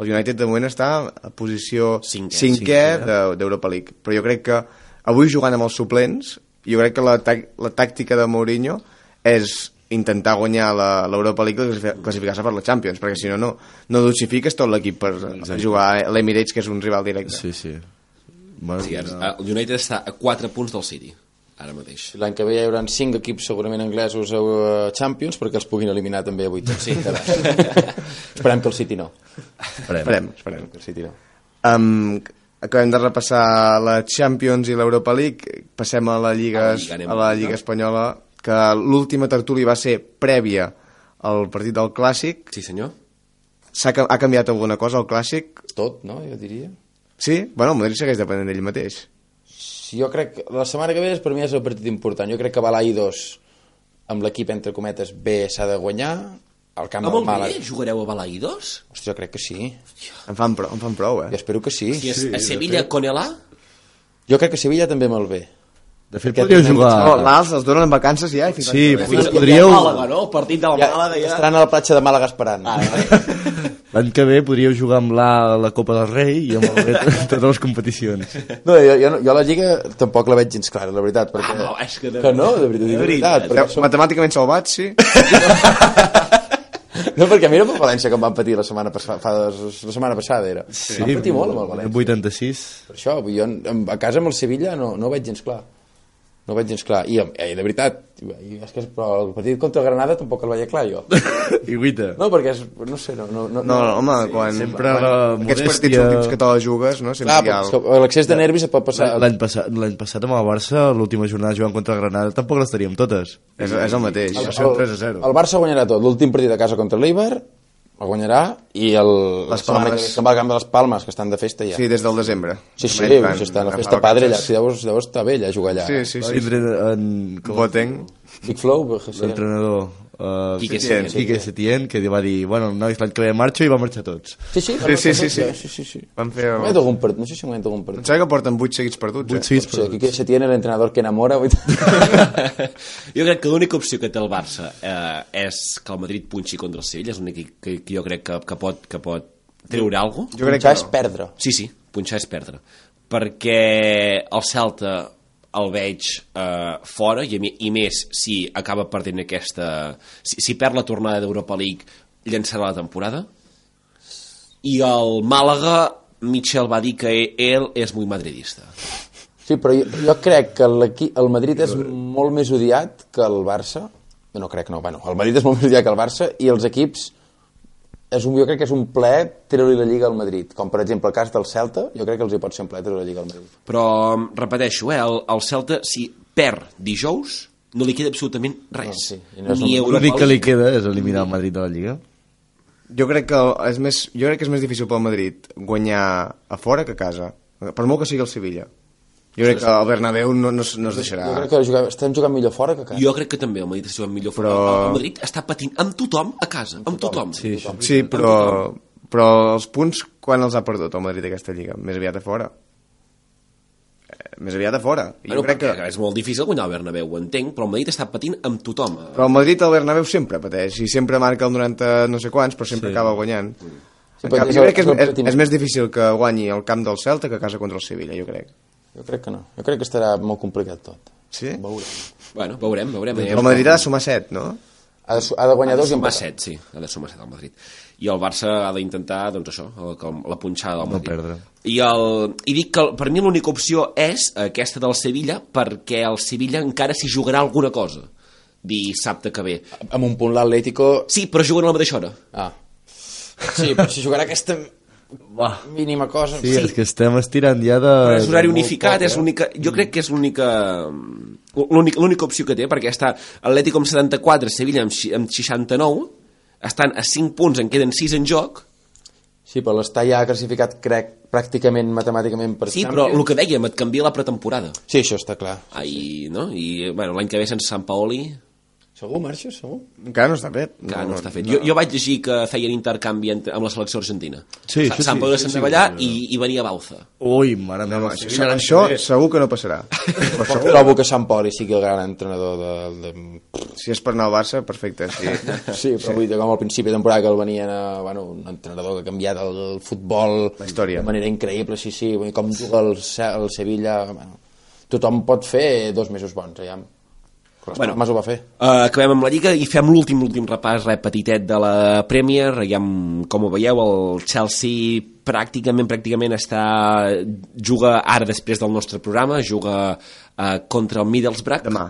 el United de moment està a posició Cinquè. cinquè de- d'Europa League. Però jo crec que avui jugant amb els suplents, jo crec que la, tàc- la tàctica de Mourinho és intentar guanyar la- l'Europa League i classificar- classificar-se per la Champions, perquè si no, no, no dosifiques tot l'equip per Exacte. jugar a l'Emirates, que és un rival directe. Sí, sí. Bueno, Sí, no. ara, el United està a 4 punts del City, ara mateix. L'any que ve hi haurà cinc equips segurament anglesos a eh, Champions perquè els puguin eliminar també avui. Sí. Esperem que el City no. Esperem, esperem. Que el City no. Um, Acabem de repassar la Champions i l'Europa League, passem a la A Lliga, la Lliga, anem a la a- Lliga Espanyola, que l'última tertúlia va ser prèvia al partit del Clàssic. Sí, senyor. S'ha ca- ha canviat alguna cosa al Clàssic? Tot, no? Jo diria. Sí? Bueno, el Madrid segueix depenent d'ell mateix. Sí, jo crec que la setmana que ve és, per mi és el partit important. Jo crec que Balaidos amb l'equip, entre cometes, B s'ha de guanyar. El camp Amb del el Màlaga... Ah, Bé jugareu a Balaïdos? Hòstia, crec que sí. En fan prou, en fan prou eh? Jo espero que sí. I a, a Sevilla, Conelà? Jo crec que Sevilla també molt bé. De fet, Aquest podríeu tenen- jugar... Oh, L'Als els donen vacances ja? i fins Sí, l'any que ve. podríeu... Ja, podríeu- Màlaga, no? El partit del Ja, Màlaga Ah, ja... estaran a la platja de Màlaga esperant. Ah, L'any que ve podríeu jugar amb l'A a la Copa del Rei i amb el B a totes les competicions. No, jo, jo, no- jo la Lliga tampoc la veig gens clara, la veritat. Perquè... Ah, no, és que de- Que no, de veritat. De veritat, veritat. perquè, som... Matemàticament salvats, sí. no, perquè mira el València com van patir la setmana, passada, fa dos, la setmana passada, era. Sí, van patir molt amb el València. 86. Per això, vull dir, jo en- en- a casa amb el Sevilla no, no ho veig gens clar. No ho veig gens clar. I, eh, de veritat, i és que és, però el partit contra el Granada tampoc el veia clar, jo. I guita. No, perquè és, no sé, no... no, no, No, no, home, quan... sempre quan la Aquests partits modèstia- últims que te la jugues, no? Sempre Clar, hi ha... però és que l'accés de nervis et pot passar... L'any passat, l'any passat amb el Barça, l'última jornada jugant contra el Granada, tampoc les teníem totes. És, és el mateix. va ser un 3 a 0. El Barça guanyarà tot. L'últim partit a casa contra l'Eibar el guanyarà i el, Les les setmana que Palmes. ve se'n va al camp de les Palmes, que estan de festa ja. Sí, des del desembre. sí, sí, També fan- sí està la fan festa padre allà. vacances. Sí, llavors, llavors està bé allà jugar allà. Sí, sí, sí. Tindré en... com- Boteng. Big Flow, sí. L'entrenador... eh, Quique Setién. Quique Setién, que va dir, bueno, nois, l'any que ve marxo i va marxar tots. Sí, sí, Sí, sí, sí, sí. sí, sí, sí. Van fer... Ha guanyat Em algun partit, no sé si ha guanyat algun partit. sembla que porten 8 seguits perduts, eh? Sí, O sigui, aquí que se tiene el entrenador que enamora. vull dir. jo crec que l'única opció que té el Barça eh, és que el Madrid punxi contra el Sevilla, és l'únic que, que jo crec que, que, pot, que pot treure alguna Jo crec Punxar que és no. perdre. Sí, sí, punxar és perdre. Perquè el Celta el veig eh, fora i, a mi, i més si acaba perdent aquesta... Si, si perd la tornada d'Europa League llançarà la temporada i el Màlaga Michel va dir que ell és molt madridista Sí, però jo, jo crec que l'equip- el Madrid és molt més odiat que el Barça. No crec, no. Bueno, el Madrid és molt més odiat que el Barça i els equips... És un, jo crec que és un plaer treure-li la Lliga al Madrid. Com, per exemple, el cas del Celta, jo crec que els hi pot ser un plaer treure la Lliga al Madrid. però em repeteixo, eh, el, el Celta si perd dijous no li queda absolutament res No, Ah, sí, i no no, és ni un- Europa L'únic que li League queda és eliminar el Madrid de la Lliga. Jo crec que és més, jo crec que és més difícil pel Madrid guanyar a fora que a casa. Per molt que sigui el Sevilla. Jo crec que el Bernabéu no, no, es- no es deixarà. Jo crec que jugar, estem jugant millor fora que a casa. jo crec que també el Madrid està jugant millor però... Però- el Madrid està patint amb tothom a casa amb tothom, sí, Sí, però, però els punts, quan els ha perdut el Madrid aquesta lliga? Més aviat a fora. Eh, Més aviat a fora. I Bueno, jo crec que... És molt difícil guanyar el Bernabéu, ho entenc, però el Madrid està patint amb tothom. Però el Madrid al Bernabéu sempre pateix, i sempre marca el 90 no sé quants, però sempre sí. acaba guanyant. Sí, en però canvi, és jo el- crec que és el és, és, patiment. és més difícil que guanyi el camp del Celta que a casa contra el Sevilla, jo crec. Jo crec que no. Jo crec que estarà molt complicat tot. Sí? Veurem. Bueno, veurem, veurem. Eh, El Madrid ha de sumar 7, no? Ha de, su- ha de ha guanyar de dos i sumar empatar. 7, sí, ha de sumar 7 al Madrid. I el Barça ha d'intentar, doncs això, el, com, la punxada del Madrid. perdre. I, el, I dic que el- per mi l'única opció és aquesta del Sevilla, perquè el Sevilla encara s'hi jugarà alguna cosa dissabte que ve. Amb un punt l'Atlético... Sí, però juguen a la mateixa hora. Ah. Sí, però si jugarà aquesta mínima cosa... Sí, és que estem estirant ja de... Però és horari molt unificat, poc, és l'única... Jo crec que és l'única... l'única- L'única opció que té, perquè està Atlético amb 74, Sevilla amb, xi- amb 69, estan a 5 punts, en queden 6 en joc, Sí, però l'està ja classificat, crec, pràcticament matemàticament per sí, però el que dèiem, et canvia la pretemporada. Sí, això està clar. Ai, no? I bueno, l'any que ve sense Sant Paoli Segur, marxa, segur? Encara no està fet. que no, està fet. Jo, jo vaig llegir que feien intercanvi entre, amb la selecció argentina. Sí, Sa- sí, Sant sí, Paoli sí, se'n sí, va allà sí, i, i venia Bauza. Ui, mare meva. No, el això, Sevilla l'any això que ve. segur que no passarà. Però Però segur, trobo que Sant Poli sigui el gran entrenador de... de... si és per anar al Barça, perfecte. Sí. Sí, però vull dir, com al principi de temporada que el venien a... Bueno, un entrenador que ha canviat el, el futbol... La història. De manera increïble, sí, sí. Vull dir, com juga el, Se- el Sevilla... Bueno, tothom pot fer dos mesos bons, ja. Bueno. Mas ho va fer. Uh, acabem amb la Lliga i fem l'últim l'últim repàs re, petitet de la Premier ja, amb- com ho veieu el Chelsea pràcticament pràcticament està juga ara després del nostre programa juga uh, contra el Middlesbrough Demà.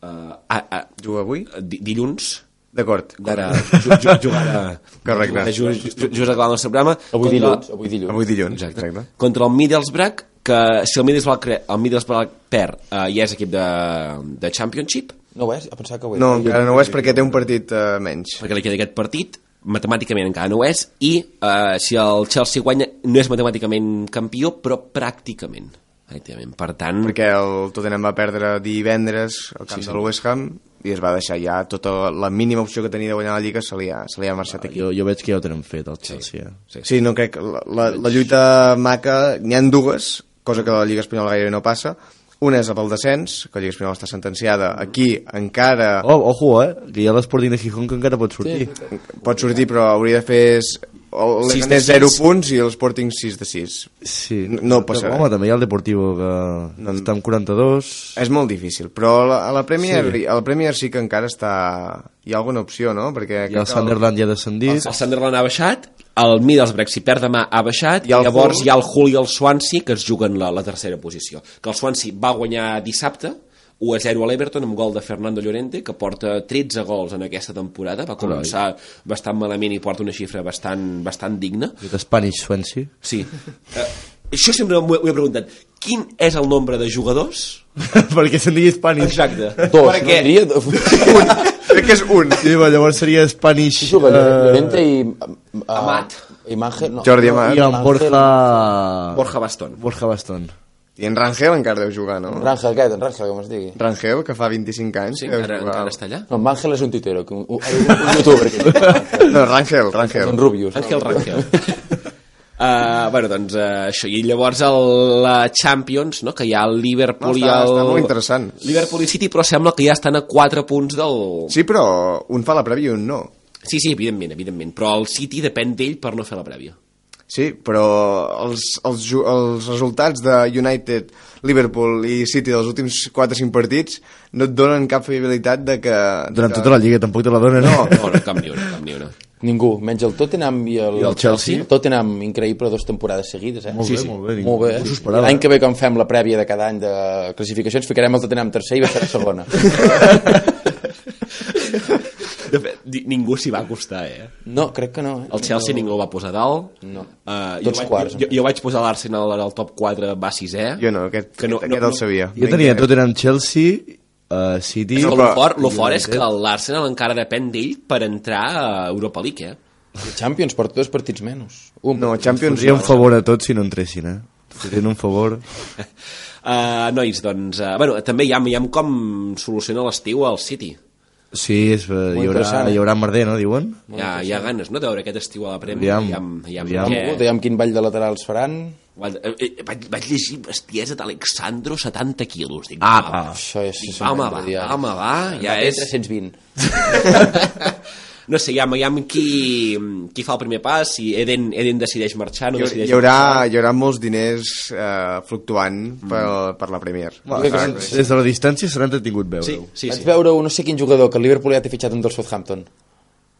uh, a, a, Juga avui? di- dilluns D'acord. d'ara ju- ju- jugar a... Correcte. de ju- ju- just acabar el nostre programa. Avui Contra- dilluns, avui dilluns. Avui dilluns, Exacte. exacte. Exacte. Contra el Middlesbrough, que si el Middlesbrough, cre- el Middlesbrough perd, eh, ja és equip de, de Championship, No ho és? A pensar que ho és. No, encara no ho és perquè té un partit eh, menys. perquè li queda aquest partit, matemàticament encara no ho és, i eh, si el Chelsea guanya, no és matemàticament campió, però pràcticament. Pràcticament. Per tant, Perquè el Tottenham va perdre divendres al camp sí, sí. del West Ham i es va deixar ja tota la mínima opció que tenia de guanyar la Lliga se li ha, se li ha marxat aquí. Jo, Ah, jo veig que ja ho tenen fet, el Chelsea. eh. Sí. sí, sí. Sí, no crec... La, la, la lluita maca, n'hi han dues, cosa que a la Lliga Espanyola gairebé no passa. Una és la pel descens, que la Lliga Espanyola està sentenciada. Aquí encara Oh, ojo, eh? Que hi ha l'Sporting de Gijón que encara pot sortir. Sí. pot sortir, però hauria de fer... s- El Oh. Sis de Leganés sis. 0 punts i el Sporting 6 de 6. Sí. No- no passa Home, res. també hi ha el Deportivo que no. està amb 42. És molt difícil, però la- a la Premier, Sí. sí. a la Premier sí que encara està... Hi ha alguna opció, no? Perquè I el Sunderland ja ha descendit. el Sunderland ha baixat, el Middlesbrough, si perd demà, ha baixat, I i el llavors Hull? hi ha el Hull i el Swansea que es juguen la, la tercera posició. Que el Swansea va guanyar dissabte, 1 a 0 a l'Everton amb gol de Fernando Llorente que porta 13 gols en aquesta temporada va començar bastant malament i porta una xifra bastant, bastant digna El... Spanish Swansea. Sí. Eh, això sempre m'ho he, m'ho he preguntat. Quin és el nombre de jugadors? perquè se'n digui Spanish. Exacte. Dos, no Perquè diria... Un. Un, crec que és un. Sí, va, llavors seria Spanish... Qui juga? eh, Llorente i... Uh, Amat. Imagen? No. Jordi Amat. I en Borja... Borja Bastón. Borja Baston. I en Rangel encara deu jugar, no? Rangel aquest, en Rangel, com es digui. Rangel, que fa 25 anys. Sí, deu encara, jugar. encara està allà. No, en Rangel és un tuitero, que un, un, un youtuber. Que No, Rangel, Rangel. en Rubius. Ángel Rangel. Uh, bueno, doncs uh, això. I llavors el, la Champions, no? que hi ha el Liverpool i No, està- el... està molt interessant. Liverpool i City, però sembla que ja estan a 4 punts del... Sí, però un fa la prèvia i un no. Sí, sí, evidentment, evidentment. Però el City depèn d'ell per no fer la prèvia. Sí, però els, els, ju- els resultats de United, Liverpool i City dels últims 4-5 partits no et donen cap fiabilitat de que... de Durant que... tota la Lliga tampoc te la dona, no? No, no, cap ni una, cap ni una. Ningú, menys el Tottenham i el, I el Chelsea. Tottenham, increïble, dues temporades seguides, eh? Molt bé, molt bé, ningú Molt bé. s'ho eh? esperava. L'any que ve, quan fem la prèvia de cada any de classificacions, ficarem el Tottenham tercer i va ser segona. De fet, di- ningú s'hi va acostar, eh? No, crec que no, eh? El Chelsea ningú el va posar dalt. No. Uh, jo, Tots vaig, quarts, jo, jo, vaig posar l'Arsenal al top 4, va 6è. Jo no, aquest, que no, aquest no, el sabia. Jo tenia Tottenham Chelsea, uh, City... Però No, lo però- fort, lo fort és que l'Arsenal encara depèn d'ell per entrar a Europa League, eh? El Champions porta dos partits menys. Un. No, Champions... Seria un favor a tots si no entressin, eh? Fent un favor. Uh, nois, doncs... Uh, bueno, també hi ha, hi ha com soluciona l'estiu al City. Sí, és, eh, hi, haurà, interessant, eh? hi haurà merder, no, diuen? Hi ha, hi ha ganes, no?, de veure aquest estiu a la Premier. Aviam, hi ha, hi ha, aviam. què? Eh. Dèiem quin ball de laterals faran. Guarda, eh, eh, Vaig, vaig llegir bestiesa d'Alexandro, 70 quilos. Dic, Ah, va, va. Això és... dic, home, va, home, va, ja és... 320. no sé, ja, ja qui, qui fa el primer pas, si Eden, Eden decideix marxar, no Hi, decideix hi, haurà, marxar. hi haurà molts diners eh, fluctuant per, per la Premier. Va, des de la distància serà entretingut veure-ho. Sí, sí, Vaig sí. veure un no sé quin jugador, que el Liverpool ja té fitxat un del Southampton.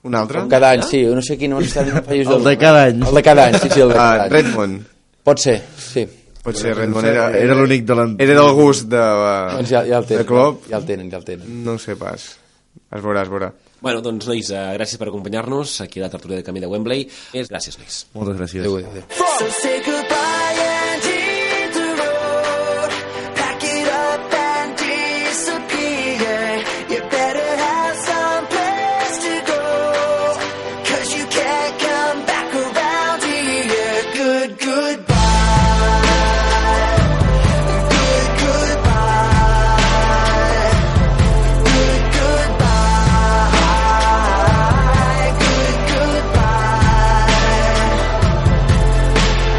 Un altre? Com cada any, sí, un no sé quin... Un país El de cada any. El de cada any, sí, sí, el de cada Uh, any. Redmond. Pot ser, sí. Pot ser Redmond. era- Era, era l'únic de l'an- Doncs, eh, Era del gust de, Doncs ja, ja el de tenen, Klopp. ja el tenen, ja el tenen. Ah, No ho sé pas. Es veurà, es veurà. Bueno, doncs, nois, eh, gràcies per acompanyar-nos aquí a la tertúlia de Camí de Wembley. És- Gràcies, nois. Moltes gràcies. Adéu, adéu. So say goodbye and hit the road. Pack it up and disappear. You better have some place to go. Cause you can't come back around here. Good goodbye. Good goodbye. Good goodbye. Good goodbye.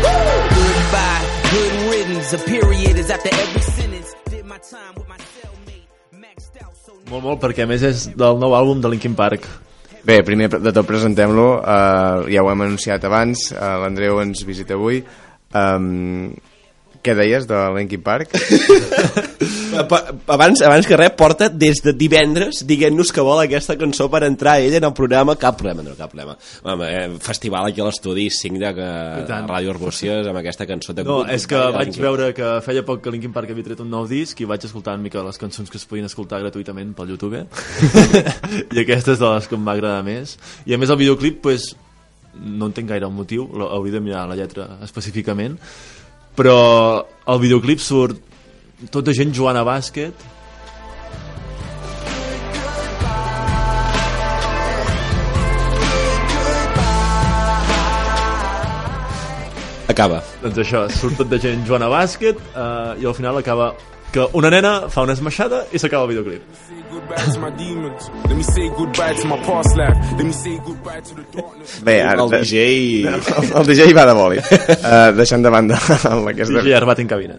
Goodbye, good riddance. A period is after every sentence. Did my time with my cellmate, maxed out, so now. Molt, molt, perquè a més és del nou àlbum de Linkin Park. Bé, primer de tot presentem-lo. Eh, Uh, ja ho hem anunciat abans. Uh, L'Andreu ens visita avui. Um, Què deies de Linkin Park? Eh, Pa- Abans, abans que res, porta des de divendres dient-nos que vol aquesta cançó per entrar ell en el programa. Cap problema, no, cap problema. Home, eh, festival aquí a l'estudi 5 de que, I de tant. Ràdio Arbúcies amb aquesta cançó. de- eh, No, és que vaig veure que feia poc que Linkin Park havia tret un nou disc i vaig escoltar una mica les cançons que es podien escoltar gratuïtament pel YouTube i aquesta és de les que em va agradar més i a més el videoclip pues, no entenc gaire el motiu l'ha- hauria de mirar la lletra específicament però al videoclip surt tota gent jugant a bàsquet Acaba. doncs això, surt tot de gent jugant a bàsquet eh, i al final acaba que una nena fa una esmaixada i s'acaba el videoclip Say goodbye to my demons. Let me say goodbye to my past life. Let me say goodbye to the darkness. Bé, ara, eh, El DJ... el, el DJ va de boli. Uh, deixant de banda aquesta... i armat en cabina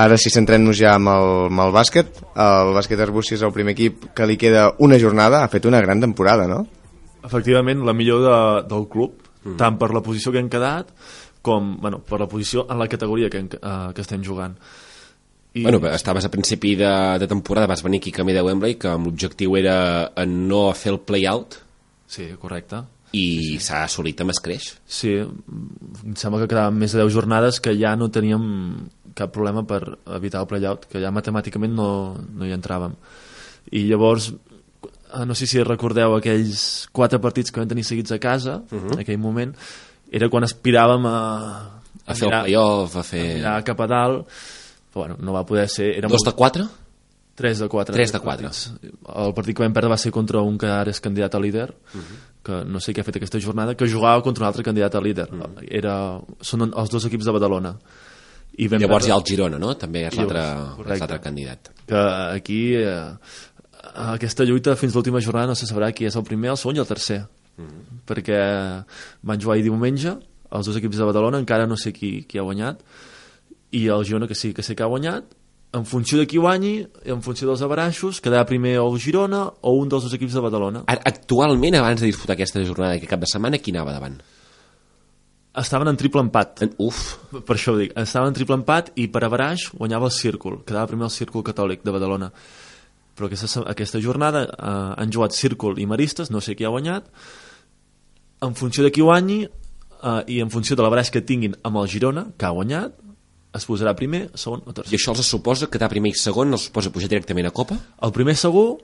Ara sí, centrem-nos ja amb el, amb el bàsquet. El bàsquet Arbúcies és el primer equip que li queda una jornada. Ha fet una gran temporada, no? Efectivament, la millor de, del club, mm. tant per la posició que hem quedat com bueno, per la posició en la categoria que, hem, eh, que estem jugant. I, Bueno, però estaves a principi de, de temporada, vas venir aquí a camí de Wembley, que amb l'objectiu era eh, no fer el play-out, Sí, correcte. i s'ha assolit amb escreix. Sí, mm, em sembla que quedaven més de 10 jornades que ja no teníem cap problema per evitar el playout, que ja matemàticament no, no hi entràvem. I llavors, eh, no sé si recordeu aquells quatre partits que vam tenir seguits a casa, uh Mhm. -huh. en aquell moment, era quan aspiràvem a... A fer el mirar- play-off, a a fer... mirar cap a dalt però bueno, no va poder ser era Eh, Dos de quatre? 3 de 4 Tres de quatre. el partit que vam perdre va ser contra un que ara és candidat a líder uh Mhm. -huh. que no sé què ha fet aquesta jornada que jugava contra un altre candidat a líder uh Mhm. -huh. era, són un- els dos equips de Badalona i vam Llavors perdre- hi ha el Girona, no? També és l'altre correcte. és l'altre candidat. que aquí eh, aquesta lluita fins a l'última jornada no se sabrà qui és el primer, el segon i el tercer mm -hmm. perquè van jugar ahir diumenge els dos equips de Badalona encara no sé qui, qui ha guanyat i el Girona que sí que sé que ha guanyat en funció de qui guanyi, en funció dels abaraixos, quedarà primer o el Girona o un dels dos equips de Badalona. Ara, Actualment, abans de disputar aquesta jornada d'aquest cap de setmana, qui anava davant? Estaven en triple empat. En- Uf, per això ho dic, estava en triple empat i per averaix guanyava el Círcul, quedava primer el Círcul Catòlic de Badalona. Però aquesta, se- aquesta jornada eh, han jugat Círcul i Maristes, no sé qui ha guanyat, en funció de qui guanyi eh, i en funció de l'averaix que tinguin amb el Girona, que ha guanyat, es posarà primer, segon o i tercer. això els suposa quedar primer i segon, els suposa pujar directament a Copa? El primer segur,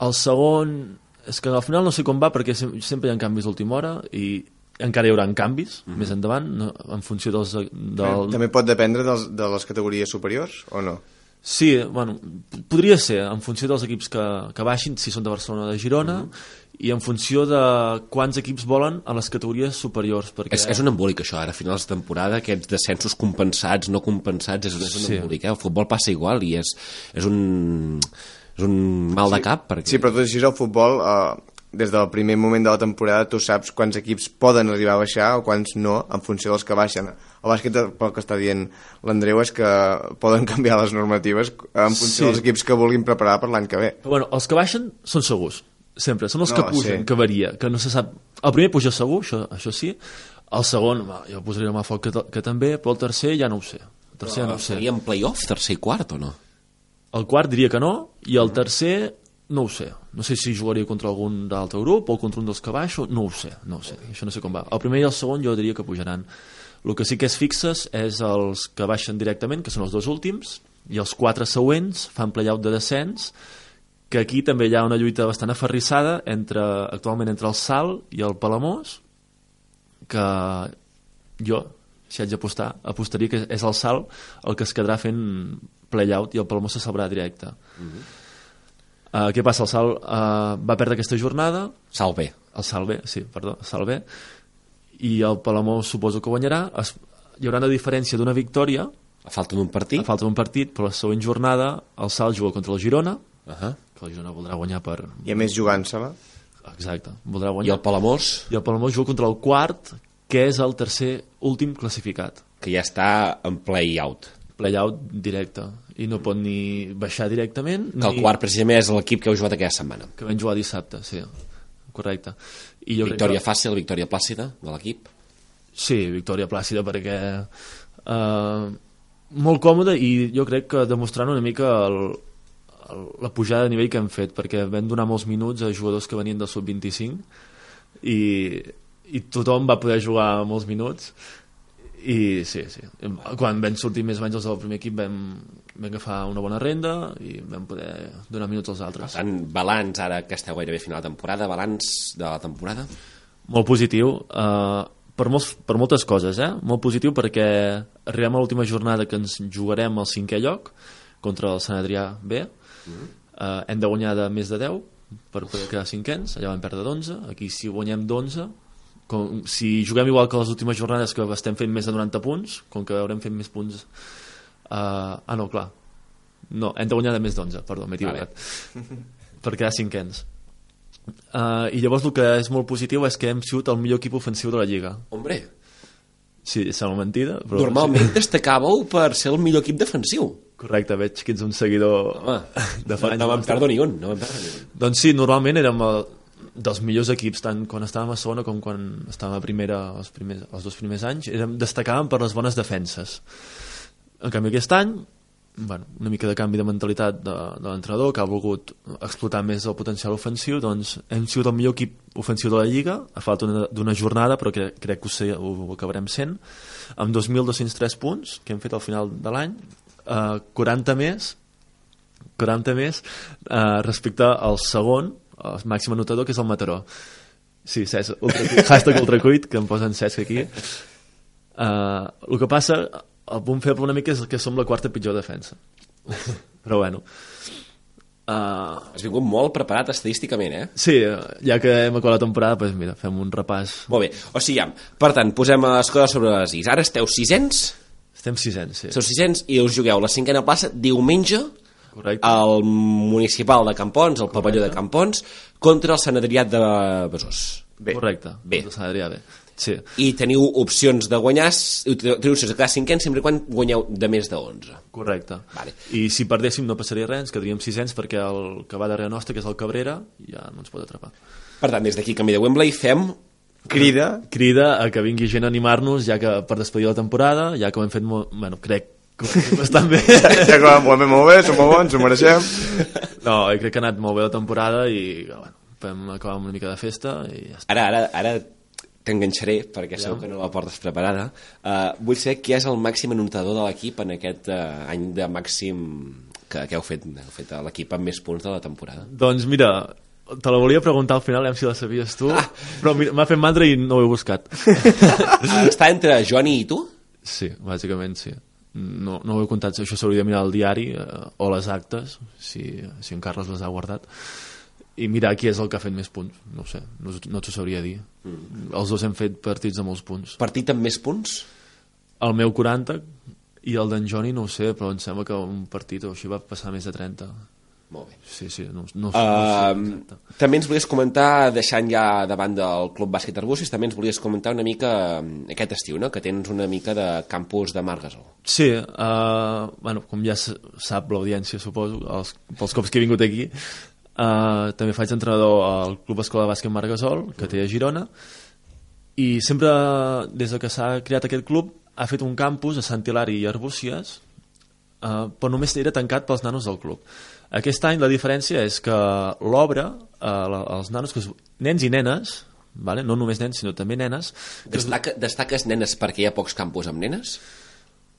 el segon... És que al final no sé com va perquè sem sempre hi ha canvis d'última hora i encara hi haurà canvis Mhm. mm -hmm. més endavant no, en funció dels, del, També pot dependre dels, de les categories superiors, o no? Sí, bueno, p- podria ser, en funció dels equips que, que baixin, si són de Barcelona o de Girona, mm -hmm. Mm-hmm. i en funció de quants equips volen a les categories superiors. Perquè... És, és un embolic, això, ara, a finals de temporada, aquests descensos compensats, no compensats, és, un- és un Sí. embolic, eh? El futbol passa igual i és, és un... És un mal de cap, perquè... Sí, però tot així és el futbol, eh, des del primer moment de la temporada tu saps quants equips poden arribar a baixar o quants no, en funció dels que baixen. El bàsquet, pel que està dient l'Andreu, és que poden canviar les normatives en funció Sí. dels equips que vulguin preparar per l'any que ve. Però, bueno, els que baixen són segurs, sempre. Són els No, que pugen, sí. sí. que varia, que no se sap... El primer puja segur, això, això sí. El segon, va, jo posaré la mà a foc que, to- que també, però el tercer ja no ho sé. El tercer ja no ho sé. Ah, Seria en play-off, tercer i quart, o no? El quart diria que no, i el tercer no ho sé. No sé si jugaria contra algun d'altre grup o contra un dels que baixo, no ho sé, no ho sé. Això no sé com va. El primer i el segon jo diria que pujaran. El que sí que és fixes és els que baixen directament, que són els dos últims, i els quatre següents fan playout de descens, que aquí també hi ha una lluita bastant aferrissada entre, actualment entre el Sal i el Palamós, que jo, si haig d'apostar, apostaria que és el Sal el que es quedarà fent playout i el Palomó se sabrà directe. Mm Mm-hmm. -hmm. uh, què passa? El Sal uh, va perdre aquesta jornada, Salve. el Salve, sí, perdó, el Salve, i el Palamó suposo que guanyarà. Es, hi haurà una diferència d'una victòria, A falta d'un a partit. falta d'un partit, però la següent jornada el Sal juga contra el Girona, Uh -huh. que el Girona voldrà guanyar per... I a més jugant-se-la. Exacte, voldrà I guanyar. el Palamós, I el Palamós juga contra el quart, que és el tercer últim classificat. que ja està en play-out. playout directe i no pot ni baixar directament Que el ni... quart, precisament, és l'equip que heu jugat aquesta setmana. que vam jugar dissabte, sí correcte I jo crec Victòria que... fàcil, victòria plàcida de l'equip. sí, victòria plàcida perquè eh, molt còmode i jo crec que demostrant una mica el, el, la pujada de nivell que hem fet perquè vam donar molts minuts a jugadors que venien del sub-25 i, i tothom va poder jugar molts minuts i sí, sí quan vam sortir més o menys els del primer equip vam, vam agafar una bona renda i vam poder donar minuts als altres tant, balanç, ara que esteu gairebé a final de temporada, balanç de la temporada? Molt positiu, eh, per, molts, per moltes coses, eh? Molt positiu perquè arribem a l'última jornada que ens jugarem al cinquè lloc contra el Sant Adrià B. eh, hem de guanyar de més de 10 per poder quedar cinquens, allà vam perdre d'11, aquí si guanyem d'11, com, si juguem igual que les últimes jornades que estem fent més de 90 punts, com que haurem fet més punts... eh, ah, no, clar. No, hem de guanyar de més d'11, perdó, m'he equivocat. per quedar cinquens. Uh, I llavors el que és molt positiu és que hem sigut el millor equip ofensiu de la Lliga. Hombre, Sí, sembla mentida, però... normalment destacàveu per ser el millor equip defensiu. Sí. Correcte, veig que ets un seguidor Home, de no, fa anys. no me'n perdo ni un, no me'n perdo ni un. Doncs sí, normalment érem el, dels millors equips, tant quan estàvem a segona com quan estàvem a primera els, primers, els dos primers anys, érem, destacàvem per les bones defenses. En canvi, aquest any, bueno, una mica de canvi de mentalitat de, de l'entrenador, que ha volgut explotar més el potencial ofensiu, doncs hem sigut el millor equip ofensiu de la Lliga, a falta d'una- d'una jornada, però crec, crec que ho, sé, ho, ho acabarem sent, amb 2.203 punts que hem fet al final de l'any, eh, 40 més 40 més eh, respecte al segon, el màxim anotador, que és el Mataró. Sí, Cesc, ultracuit, hashtag ultracuit, que em posen Cesc aquí. Uh, el que passa, el punt feble una mica és que som la quarta pitjor defensa. Però bueno. Uh, Has vingut molt preparat estadísticament, eh? sí, ja que hem acabat la temporada, doncs mira, fem un repàs. Molt bé, o sigui, ja, per tant, posem les coses sobre les is. Ara esteu sisens, Estem sisens, sí. esteu sisens i us jugueu la cinquena plaça diumenge Correcte. al municipal de Campons, al pavelló de Campons, contra el Sant Adrià de Besòs. Bé. Correcte. Bé. Doncs Adrià, bé. Sí. I teniu opcions de guanyar, teniu opcions de quedar cinquens sempre quan guanyeu de més de 11. Correcte. Vale. I si perdéssim no passaria res, ens quedaríem sisens perquè el que va darrere nostre, que és el Cabrera, ja no ens pot atrapar. Per tant, des d'aquí, Camí de Wembley, fem Crida, Crida a que vingui gent a animar-nos, ja que per despedir la temporada, ja que ho hem fet molt... Bueno, crec que ho hem fet bastant bé. ja que ho hem molt bé, som molt bons, ho mereixem. No, crec que ha anat molt bé la temporada i, bueno, vam acabar amb una mica de festa i ja està. Ara, ara, ara t'enganxaré, perquè segur que no la portes preparada. Uh, vull saber qui és el màxim anotador de l'equip en aquest uh, any de màxim que, que heu fet, heu fet a l'equip amb més punts de la temporada. Doncs mira, te la volia preguntar al final, a veure si la sabies tu, però mira, m'ha fet mandra i no ho he buscat. Ah, Està entre Joani i tu? Sí, bàsicament sí. No, no ho he comptat, això s'hauria de mirar al diari eh, o les actes, si, si en Carles les ha guardat, i mirar qui és el que ha fet més punts. No ho sé, no, us- no t'ho sabria dir. Mm. Els dos hem fet partits de molts punts. Partit amb més punts? El meu 40 i el d'en Joni no ho sé, però em sembla que un partit o així va passar més de 30. Molt bé. Sí, sí, no, no, no ho sé Uh, exacte. també ens volies comentar, deixant ja de banda el Club Bàsquet Arbúcies, també ens volies comentar una mica eh, aquest estiu, no? que tens una mica de campus de Margasol. Sí, uh, bueno, com ja s- sap l'audiència, suposo, els, pels cops que he vingut aquí, uh, també faig entrenador al Club Escola de Bàsquet Marc Gasol, que té a Girona, i sempre, des de que s'ha creat aquest club, ha fet un campus a Sant Hilari i Arbúcies, eh, però només era tancat pels nanos del club. Aquest any la diferència és que l'obra, eh, la- els nanos, que es, nens i nenes, vale? no només nens, sinó també nenes, que es, Destaca, destaques nenes perquè hi ha pocs campus amb nenes?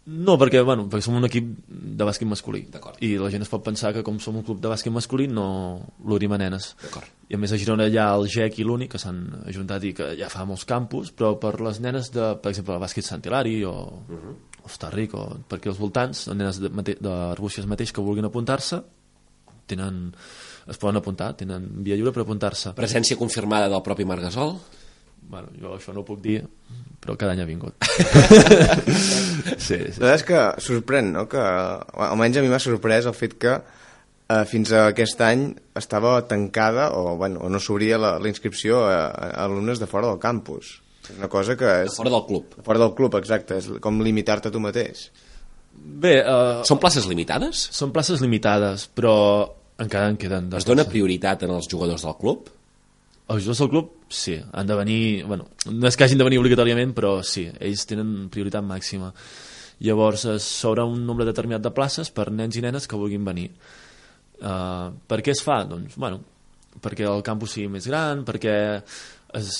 No, perquè, bueno, perquè som un equip de bàsquet masculí. D'acord. I la gent es pot pensar que com som un club de bàsquet masculí no l'obrim a nenes. D'acord. I a més a Girona hi ha el GEC i l'UNI que s'han ajuntat i que ja fa molts campus, però per les nenes de, per exemple, el bàsquet Sant Hilari o uh Mhm. -huh. Ostarric o per aquí als voltants, les nenes de, mate- d'Arbúcies mateix que vulguin apuntar-se, tenen, es poden apuntar, tenen via lliure per apuntar-se. Presència confirmada del propi Margasol? Bueno, jo això no ho puc dir, però cada any ha vingut. sí, sí. La veritat és que sorprèn, no? Que, almenys a mi m'ha sorprès el fet que eh, fins a aquest any estava tancada o, bueno, o no s'obria la, la inscripció a, a alumnes de fora del campus. És una cosa que és... Fora del club. Fora del club, exacte. És com limitar-te tu mateix. Bé, eh, Són places limitades? Són places limitades, però encara en queden. de Es dona places. prioritat en els jugadors del club? Els jugadors del club, sí, han de venir... Bueno, no és que hagin de venir obligatòriament, però sí, ells tenen prioritat màxima. Llavors es- s'obre un nombre determinat de places per nens i nenes que vulguin venir. Uh, per què es fa? Doncs, bueno, perquè el campus sigui més gran, perquè es,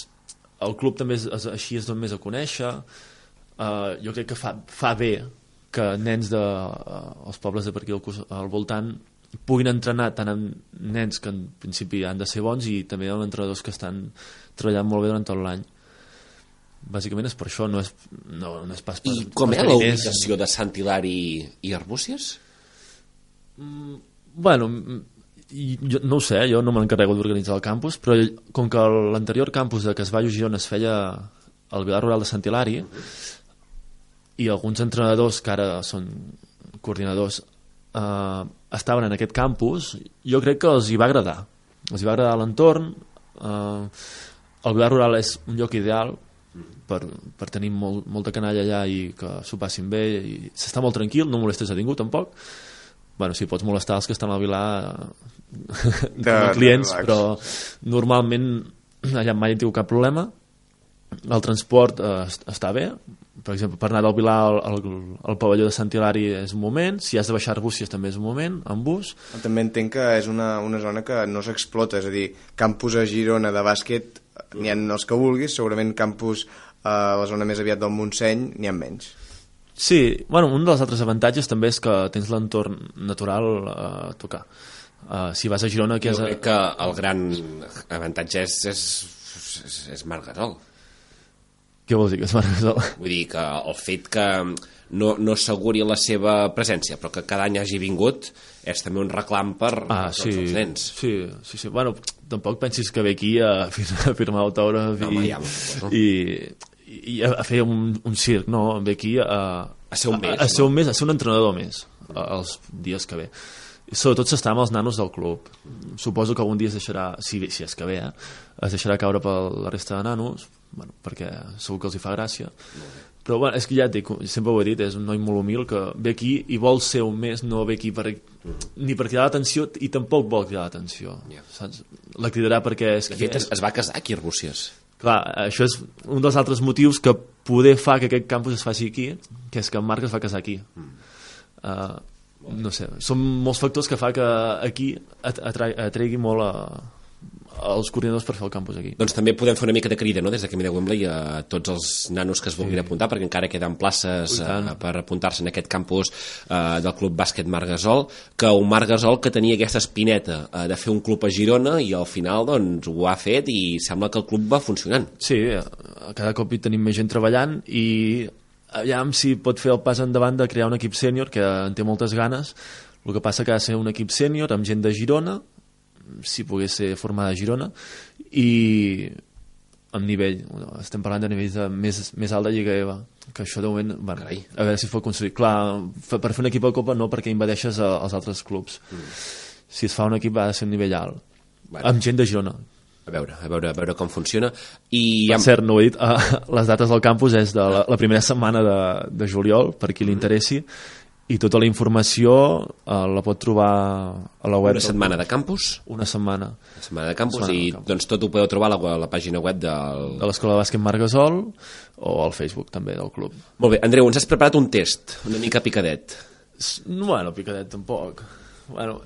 el club també es, es, així es dona més a conèixer, eh, jo crec que fa, fa bé que nens de, eh, els pobles de per aquí al, cos- al voltant puguin entrenar tant amb nens que en principi han de ser bons i també amb entrenadors que estan treballant molt bé durant tot l'any bàsicament és per això no és, no, no és pas per, I com per és tenir la diners. ubicació de Sant Hilari i Arbúcies? Bueno, mm, i jo, no ho sé, jo no m'encarrego d'organitzar el campus, però ell- com que l'anterior campus de que es va a Girona es feia al Vilar Rural de Sant Hilari, i alguns entrenadors que ara són coordinadors eh, estaven en aquest campus, jo crec que els hi va agradar. Els hi va agradar l'entorn, eh, el Vilar Rural és un lloc ideal per, per tenir molt, molta canalla allà i que s'ho passin bé, i s'està molt tranquil, no molestes a ningú tampoc, bueno, sí, pots molestar els que estan al Vilar eh, De- com a clients, de relax. però normalment allà mai he tingut cap problema. El transport eh, est- està bé, per exemple, per anar del Vilar al, al, al pavelló de Sant Hilari és un moment, si has de baixar a Arbúcies també és un moment, en bus, També entenc que és una, una zona que no s'explota, és a dir, campus a Girona de bàsquet eh, n'hi ha els que vulguis, segurament campus eh, a la zona més aviat del Montseny n'hi ha menys. Sí, bueno, un dels altres avantatges també és que tens l'entorn natural eh, a tocar. Uh, si vas a Girona, que Jo és... crec que el gran avantatge és, és, és, és Marc Gasol. Què vols dir? Que és Marc Vull dir que el fet que no, no asseguri la seva presència, però que cada any hagi vingut, és també un reclam per Ah, tots sí, els nens. Sí, sí, sí. Bueno, tampoc pensis que ve aquí a, fir- a firmar autògrafs Home, i, ja, bueno. i, i a, a fer un, un circ, no? Ve aquí a, A ser un més, a, a, ser no? un més, a ser un entrenador més a- els dies que ve. I sobretot s'està amb els nanos del club. Suposo que algun dia es deixarà, si, bé- si és que ve, eh, es deixarà caure per la resta de nanos, bueno, perquè segur que els hi fa gràcia. Però bueno, és que ja et dic, sempre ho he dit, és un noi molt humil que ve aquí i vol ser un més, no ve aquí per, ni per cridar l'atenció i tampoc vol cridar l'atenció. Ja. saps? La cridarà perquè és... De fet, es, es va casar aquí a Arbúcies. Clar, això és un dels altres motius que poder fa que aquest campus es faci aquí, que és que en Marc es va casar aquí. Mm. Uh, no sé, són molts factors que fa que aquí at atra- atregui molt a, els coordinadors per fer el campus aquí. Doncs també podem fer una mica de crida, no?, des de Camí de Wembley a tots els nanos que es vulguin apuntar, perquè encara queden places Ui, uh, tant. per apuntar-se en aquest campus uh, del Club Bàsquet Margasol, que un Margasol que tenia aquesta espineta uh, de fer un club a Girona i al final, doncs, ho ha fet i sembla que el club va funcionant. Sí, eh, cada cop hi tenim més gent treballant i aviam si pot fer el pas endavant de crear un equip sènior, que en té moltes ganes. El que passa que ha de ser un equip sènior amb gent de Girona, si pogués ser formada a Girona, i amb nivell, bueno, estem parlant de nivells de més, més alt de Lliga EVA, que això de moment, bueno, Carai. a veure si es pot construir. Clar, fa- per fer un equip a Copa no, perquè invadeixes a, els altres clubs. Mm. Si es fa un equip ha de ser un nivell alt, Bueno. amb gent de Girona, A veure, a veure, a veure com funciona. I i per cert, no ho he dit, uh, les dates del campus és de la, la primera setmana de, de juliol, per qui li Mm-hmm. interessi, i tota la informació uh, la pot trobar a la web. una setmana de campus, Una setmana. una setmana de campus, Setmana de i campus. doncs tot ho podeu trobar a la, a la pàgina web del... De l'escola de bàsquet Margasol o al Facebook també del club. Molt bé, Andreu, ens has preparat un test, una mica picadet. S- Bueno, picadet tampoc. Bueno,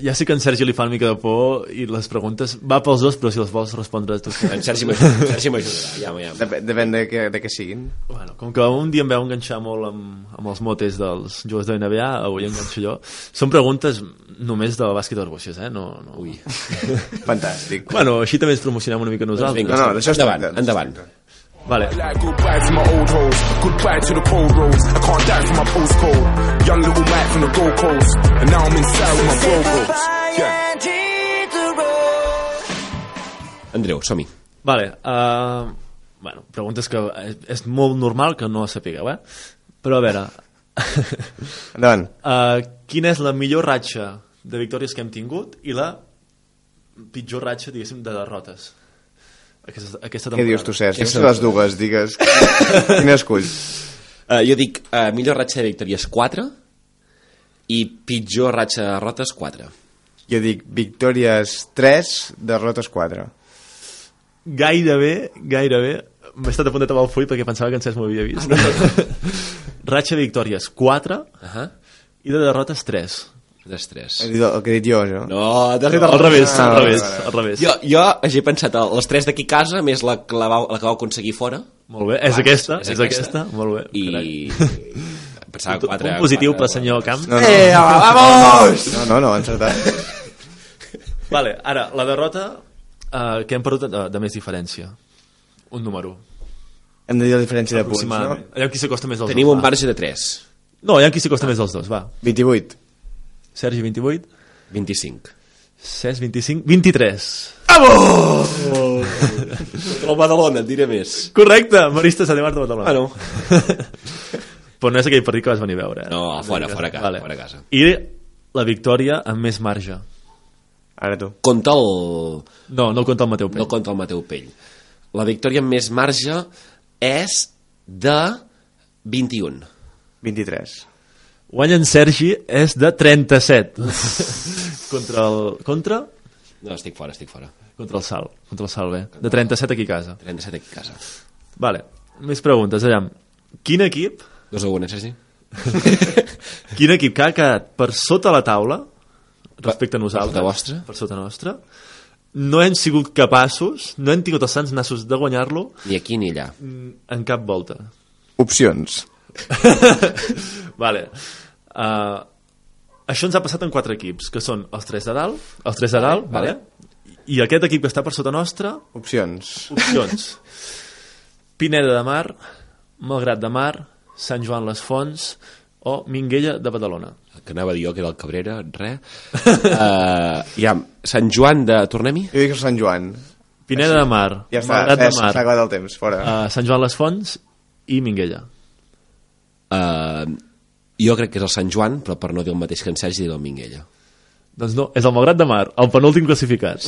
ja sé que en Sergi li fa una mica de por i les preguntes... Va pels dos, però si les vols respondre tu. En Sergi m'ajuda, en Sergi m'ajudarà, ja, ja. Dep depèn de què, de què siguin. Bueno, com que un dia em veu enganxar molt amb, amb els motes dels jugadors de NBA, avui enganxo jo. Són preguntes només de bàsquet d'arbuixes, eh? No, no. Ui. Fantàstic. Bueno, així també ens promocionem una mica Doncs nosaltres. vinga, No, no, d'això es endavant, doncs- tracta. endavant. Vale. Like goodbye to my old hoes, goodbye to the cold roads. I can't die for my postcode. Young little Mike from the Gold Coast, and now I'm inside with my bro bros. Yeah. Andreu, som-hi. Vale. Uh, bueno, preguntes que és, és molt normal que no sapigueu, eh? Però a veure, Endavant. uh, quina és la millor ratxa de victòries que hem tingut i la pitjor ratxa, diguéssim, de derrotes? Aquesta, aquesta temporada. Què dius tu, Cesc? Què les dues, digues. Quin esculls? Uh, jo dic, uh, millor ratxa de victòries 4 i pitjor ratxa de rotes 4. Jo dic victòries 3, derrotes 4. Gairebé, gairebé, m'he estat a punt de tapar el full perquè pensava que en Cesc m'ho havia vist. Ratxa de victòries, 4, Uh -huh. i de derrotes, 3. Després. He dit El que he dit jo, jo. No, t'has dit Al revés, Ah, al vale, revés, vale. al revés. Jo, jo he pensat el- les tres d'aquí a casa, més la que, la, va, la que vau aconseguir fora, Molt bé, és aquesta, és aquesta, molt bé. i... Pensava Carai. quatre... Un positiu quatre- pel senyor Camp. No, no. Eh, vamos! No, no, no, encertat. Vale, ara, la derrota eh, que hem perdut de, de més diferència. Un número. Hem de dir la diferència de punts, no? Aproximadament. Allà qui s'acosta més dels Tenim dos. Ah. un va. marge de 3. No, allà qui s'acosta més dels dos, va. 28. Sergi, 28. 25. Cesc, 25. 23. Contra el Badalona, et diré més. Correcte, Marista Sant Marta Badalona. Ah, no. Però no és aquell partit que vas venir a veure. Eh? No, a fora, fora a casa, fora a casa. I la victòria amb més marge. Ara tu. Contra el... No, no compta el Mateu Pell. No contra el Mateu Pell. La victòria amb més marge és de 21. 23. Guanya en Sergi és de 37. contra el... Contra? No, estic fora, estic fora. Contra el Sal. Contra el Sal, bé. De 37 aquí a casa. 37 aquí a casa. Vale. Més preguntes, aviam. Quin equip, 2 a 1, eh, Sergi? quin equip que ha quedat per sota la taula, respecte a nosaltres, sota vostra? per sota nostra, no hem sigut capaços, no hem tingut els sants nassos de guanyar-lo Ni aquí ni allà. mm, en cap volta. Opcions. vale. Uh, això ens ha passat en quatre equips, que són els tres de dalt, els tres de dalt, vale, vale. i aquest equip que està per sota nostra, Opcions. opcions. Pineda de Mar, Malgrat de Mar, Sant Joan les Fonts o Minguella de Badalona. El que anava a dir jo, que era el Cabrera, res. Uh, ja, Sant Joan de... Tornem-hi? Jo dic el Sant Joan. Pineda de Mar, Ja està, Malgrat Cesc, de s'ha Mar, acabat el temps, fora. eh, Sant Joan les Fonts i Minguella. Uh, jo crec que és el Sant Joan, però per no dir el mateix que en Sergi, diré el Minguella. Doncs no, és el Malgrat de Mar, el penúltim classificat.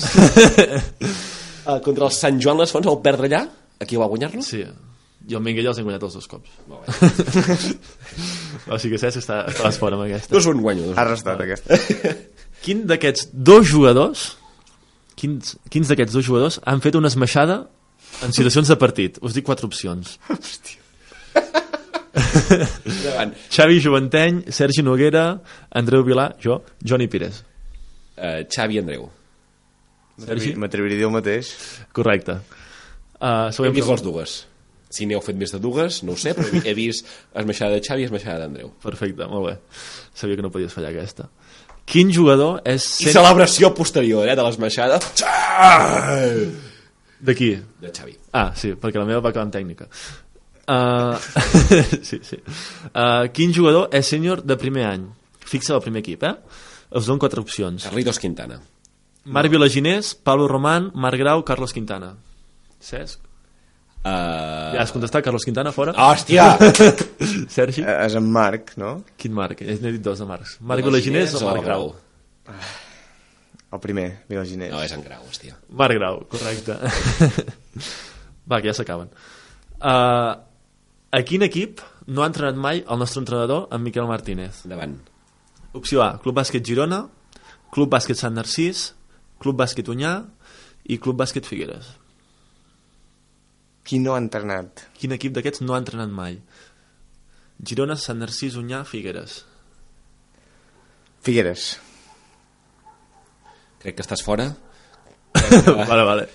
Uh, contra el Sant Joan les Fonts, el perdre allà, aquí va guanyar-lo? Sí, i el Minguella els hem guanyat els dos cops. Molt o sigui que Cesc està, estàs fora amb aquesta. Dos un guanyo. Dos. Ha restat Ah. aquesta. Doncs Quin d'aquests dos jugadors quins, quins d'aquests dos jugadors han fet una esmaixada en situacions de partit? Us dic quatre opcions. Endavant. Xavi Joventeny, Sergi Noguera, Andreu Vilà, jo, Joni Pires. Uh, Xavi Andreu. Sergi? M'atreviria a dir el mateix. Correcte. Uh, He següent vist les pregunta. dues. Si n'heu fet més de dues, no ho sé, però he vist esmaixada de Xavi i esmaixada d'Andreu. Perfecte, molt bé. Sabia que no podies fallar aquesta. Quin jugador és... I Cent... celebració posterior, eh, de l'esmaixada. De qui? De Xavi. Ah, sí, perquè la meva va acabar en tècnica. Uh, sí, sí. Uh, quin jugador és sènior de primer any? Fixa el primer equip, eh? Us dono quatre opcions. Carlitos Quintana. Marc Vilaginés, Pablo Román, Marc Grau, Carlos Quintana. Cesc? Uh... Ja has contestat, Carlos Quintana, fora. Hòstia! Sergi? Eh, És en Marc, no? Quin Marc? Ja n'he dit dos de Marcs. Marc Vilaginés o Marc Grau? El primer, Vilaginés. No, és en Grau, hòstia. Marc Grau, correcte. Va, que ja s'acaben. Uh, a quin equip no ha entrenat mai el nostre entrenador, en Miquel Martínez? Endavant. Opció A, Club Bàsquet Girona, Club Bàsquet Sant Narcís, Club Bàsquet Unyà i Club Bàsquet Figueres. Qui no ha entrenat? Quin equip d'aquests no ha entrenat mai? Girona, Sant Narcís, Unyà, Figueres. Figueres. Crec que estàs fora. vale, vale.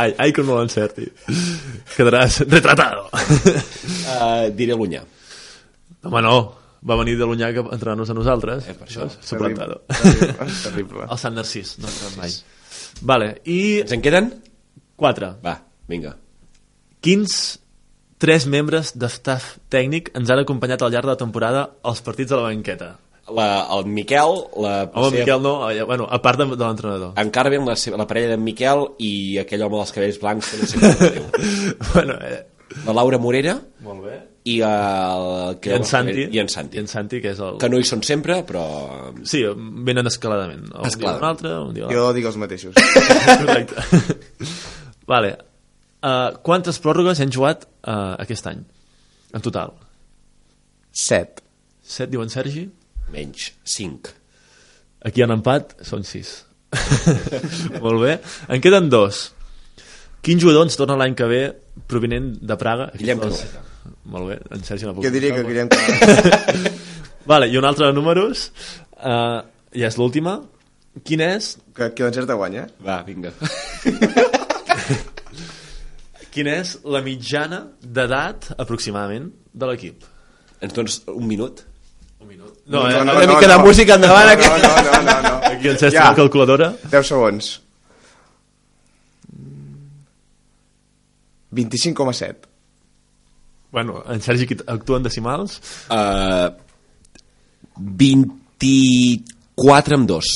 Ai, ai que no l'encerti. Quedaràs retratado. Uh, diré l'Unyà. Home, no. Va venir de l'Unyà a entrenar-nos a nosaltres. Eh, per això. Suplantado. Terrible. Terrible. El Sant Narcís, no ha entrenat mai. Vale, i Ens en queden? 4. Va, vinga. Quins tres membres d'estaf tècnic ens han acompanyat al llarg de la temporada als partits de la banqueta? La, el Miquel, la... Home, Miquel, no. eh, Bueno, a part de, de l'entrenador. En Carmen, la, seva- la parella d'en Miquel i aquell home dels cabells blancs que no sé com es diu. bueno, eh, La Laura Morera molt bé. i el... I en Santi. I en Santi. I en Santi, que és el... Que no hi són sempre, però... Sí, venen escaladament. Un dia Escalada. un altre, un dia l'altre. Jo dic els mateixos. Correcte. vale. Uh, quantes pròrrogues hem jugat uh, aquest any? En total. Set. Set, diuen Sergi. Menys. 5. Aquí en empat són sis. Molt bé. En queden dos. Quin jugador ens torna l'any que ve provinent de Praga. Guillem Aquests dos- Molt bé, en Sergi no puc Jo diria que contestar, Guillem Clara. Vale, I un altre de números, uh, ja és l'última. Quin és, que, que l'encerta guanya. Va, vinga. quina és la mitjana d'edat, aproximadament, de l'equip? Ens dones un minut? No, eh? no, Una mica de música endavant, no, no, no, no, no. Aquí el Cesc ja. la calculadora. 10 segons. 25,7. Bueno, en Sergi qui actua en decimals. Uh, 24 amb 2.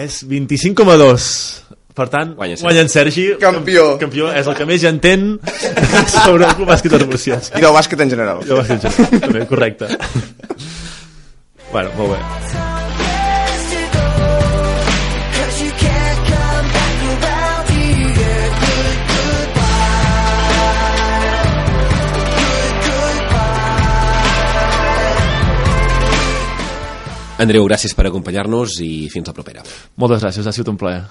És 25,2. Per tant, Guanya Sergi. guanya en Sergi. Campió. Campió. És el que més ja entén sobre el bàsquet de Rússies. I del bàsquet en general. Jo vaig dir També, correcte. bueno, molt bé. Cause you can't come back around here. Good goodbye. Good goodbye. Andreu, gràcies per acompanyar-nos i fins la propera. Moltes gràcies, ha sigut un plaer.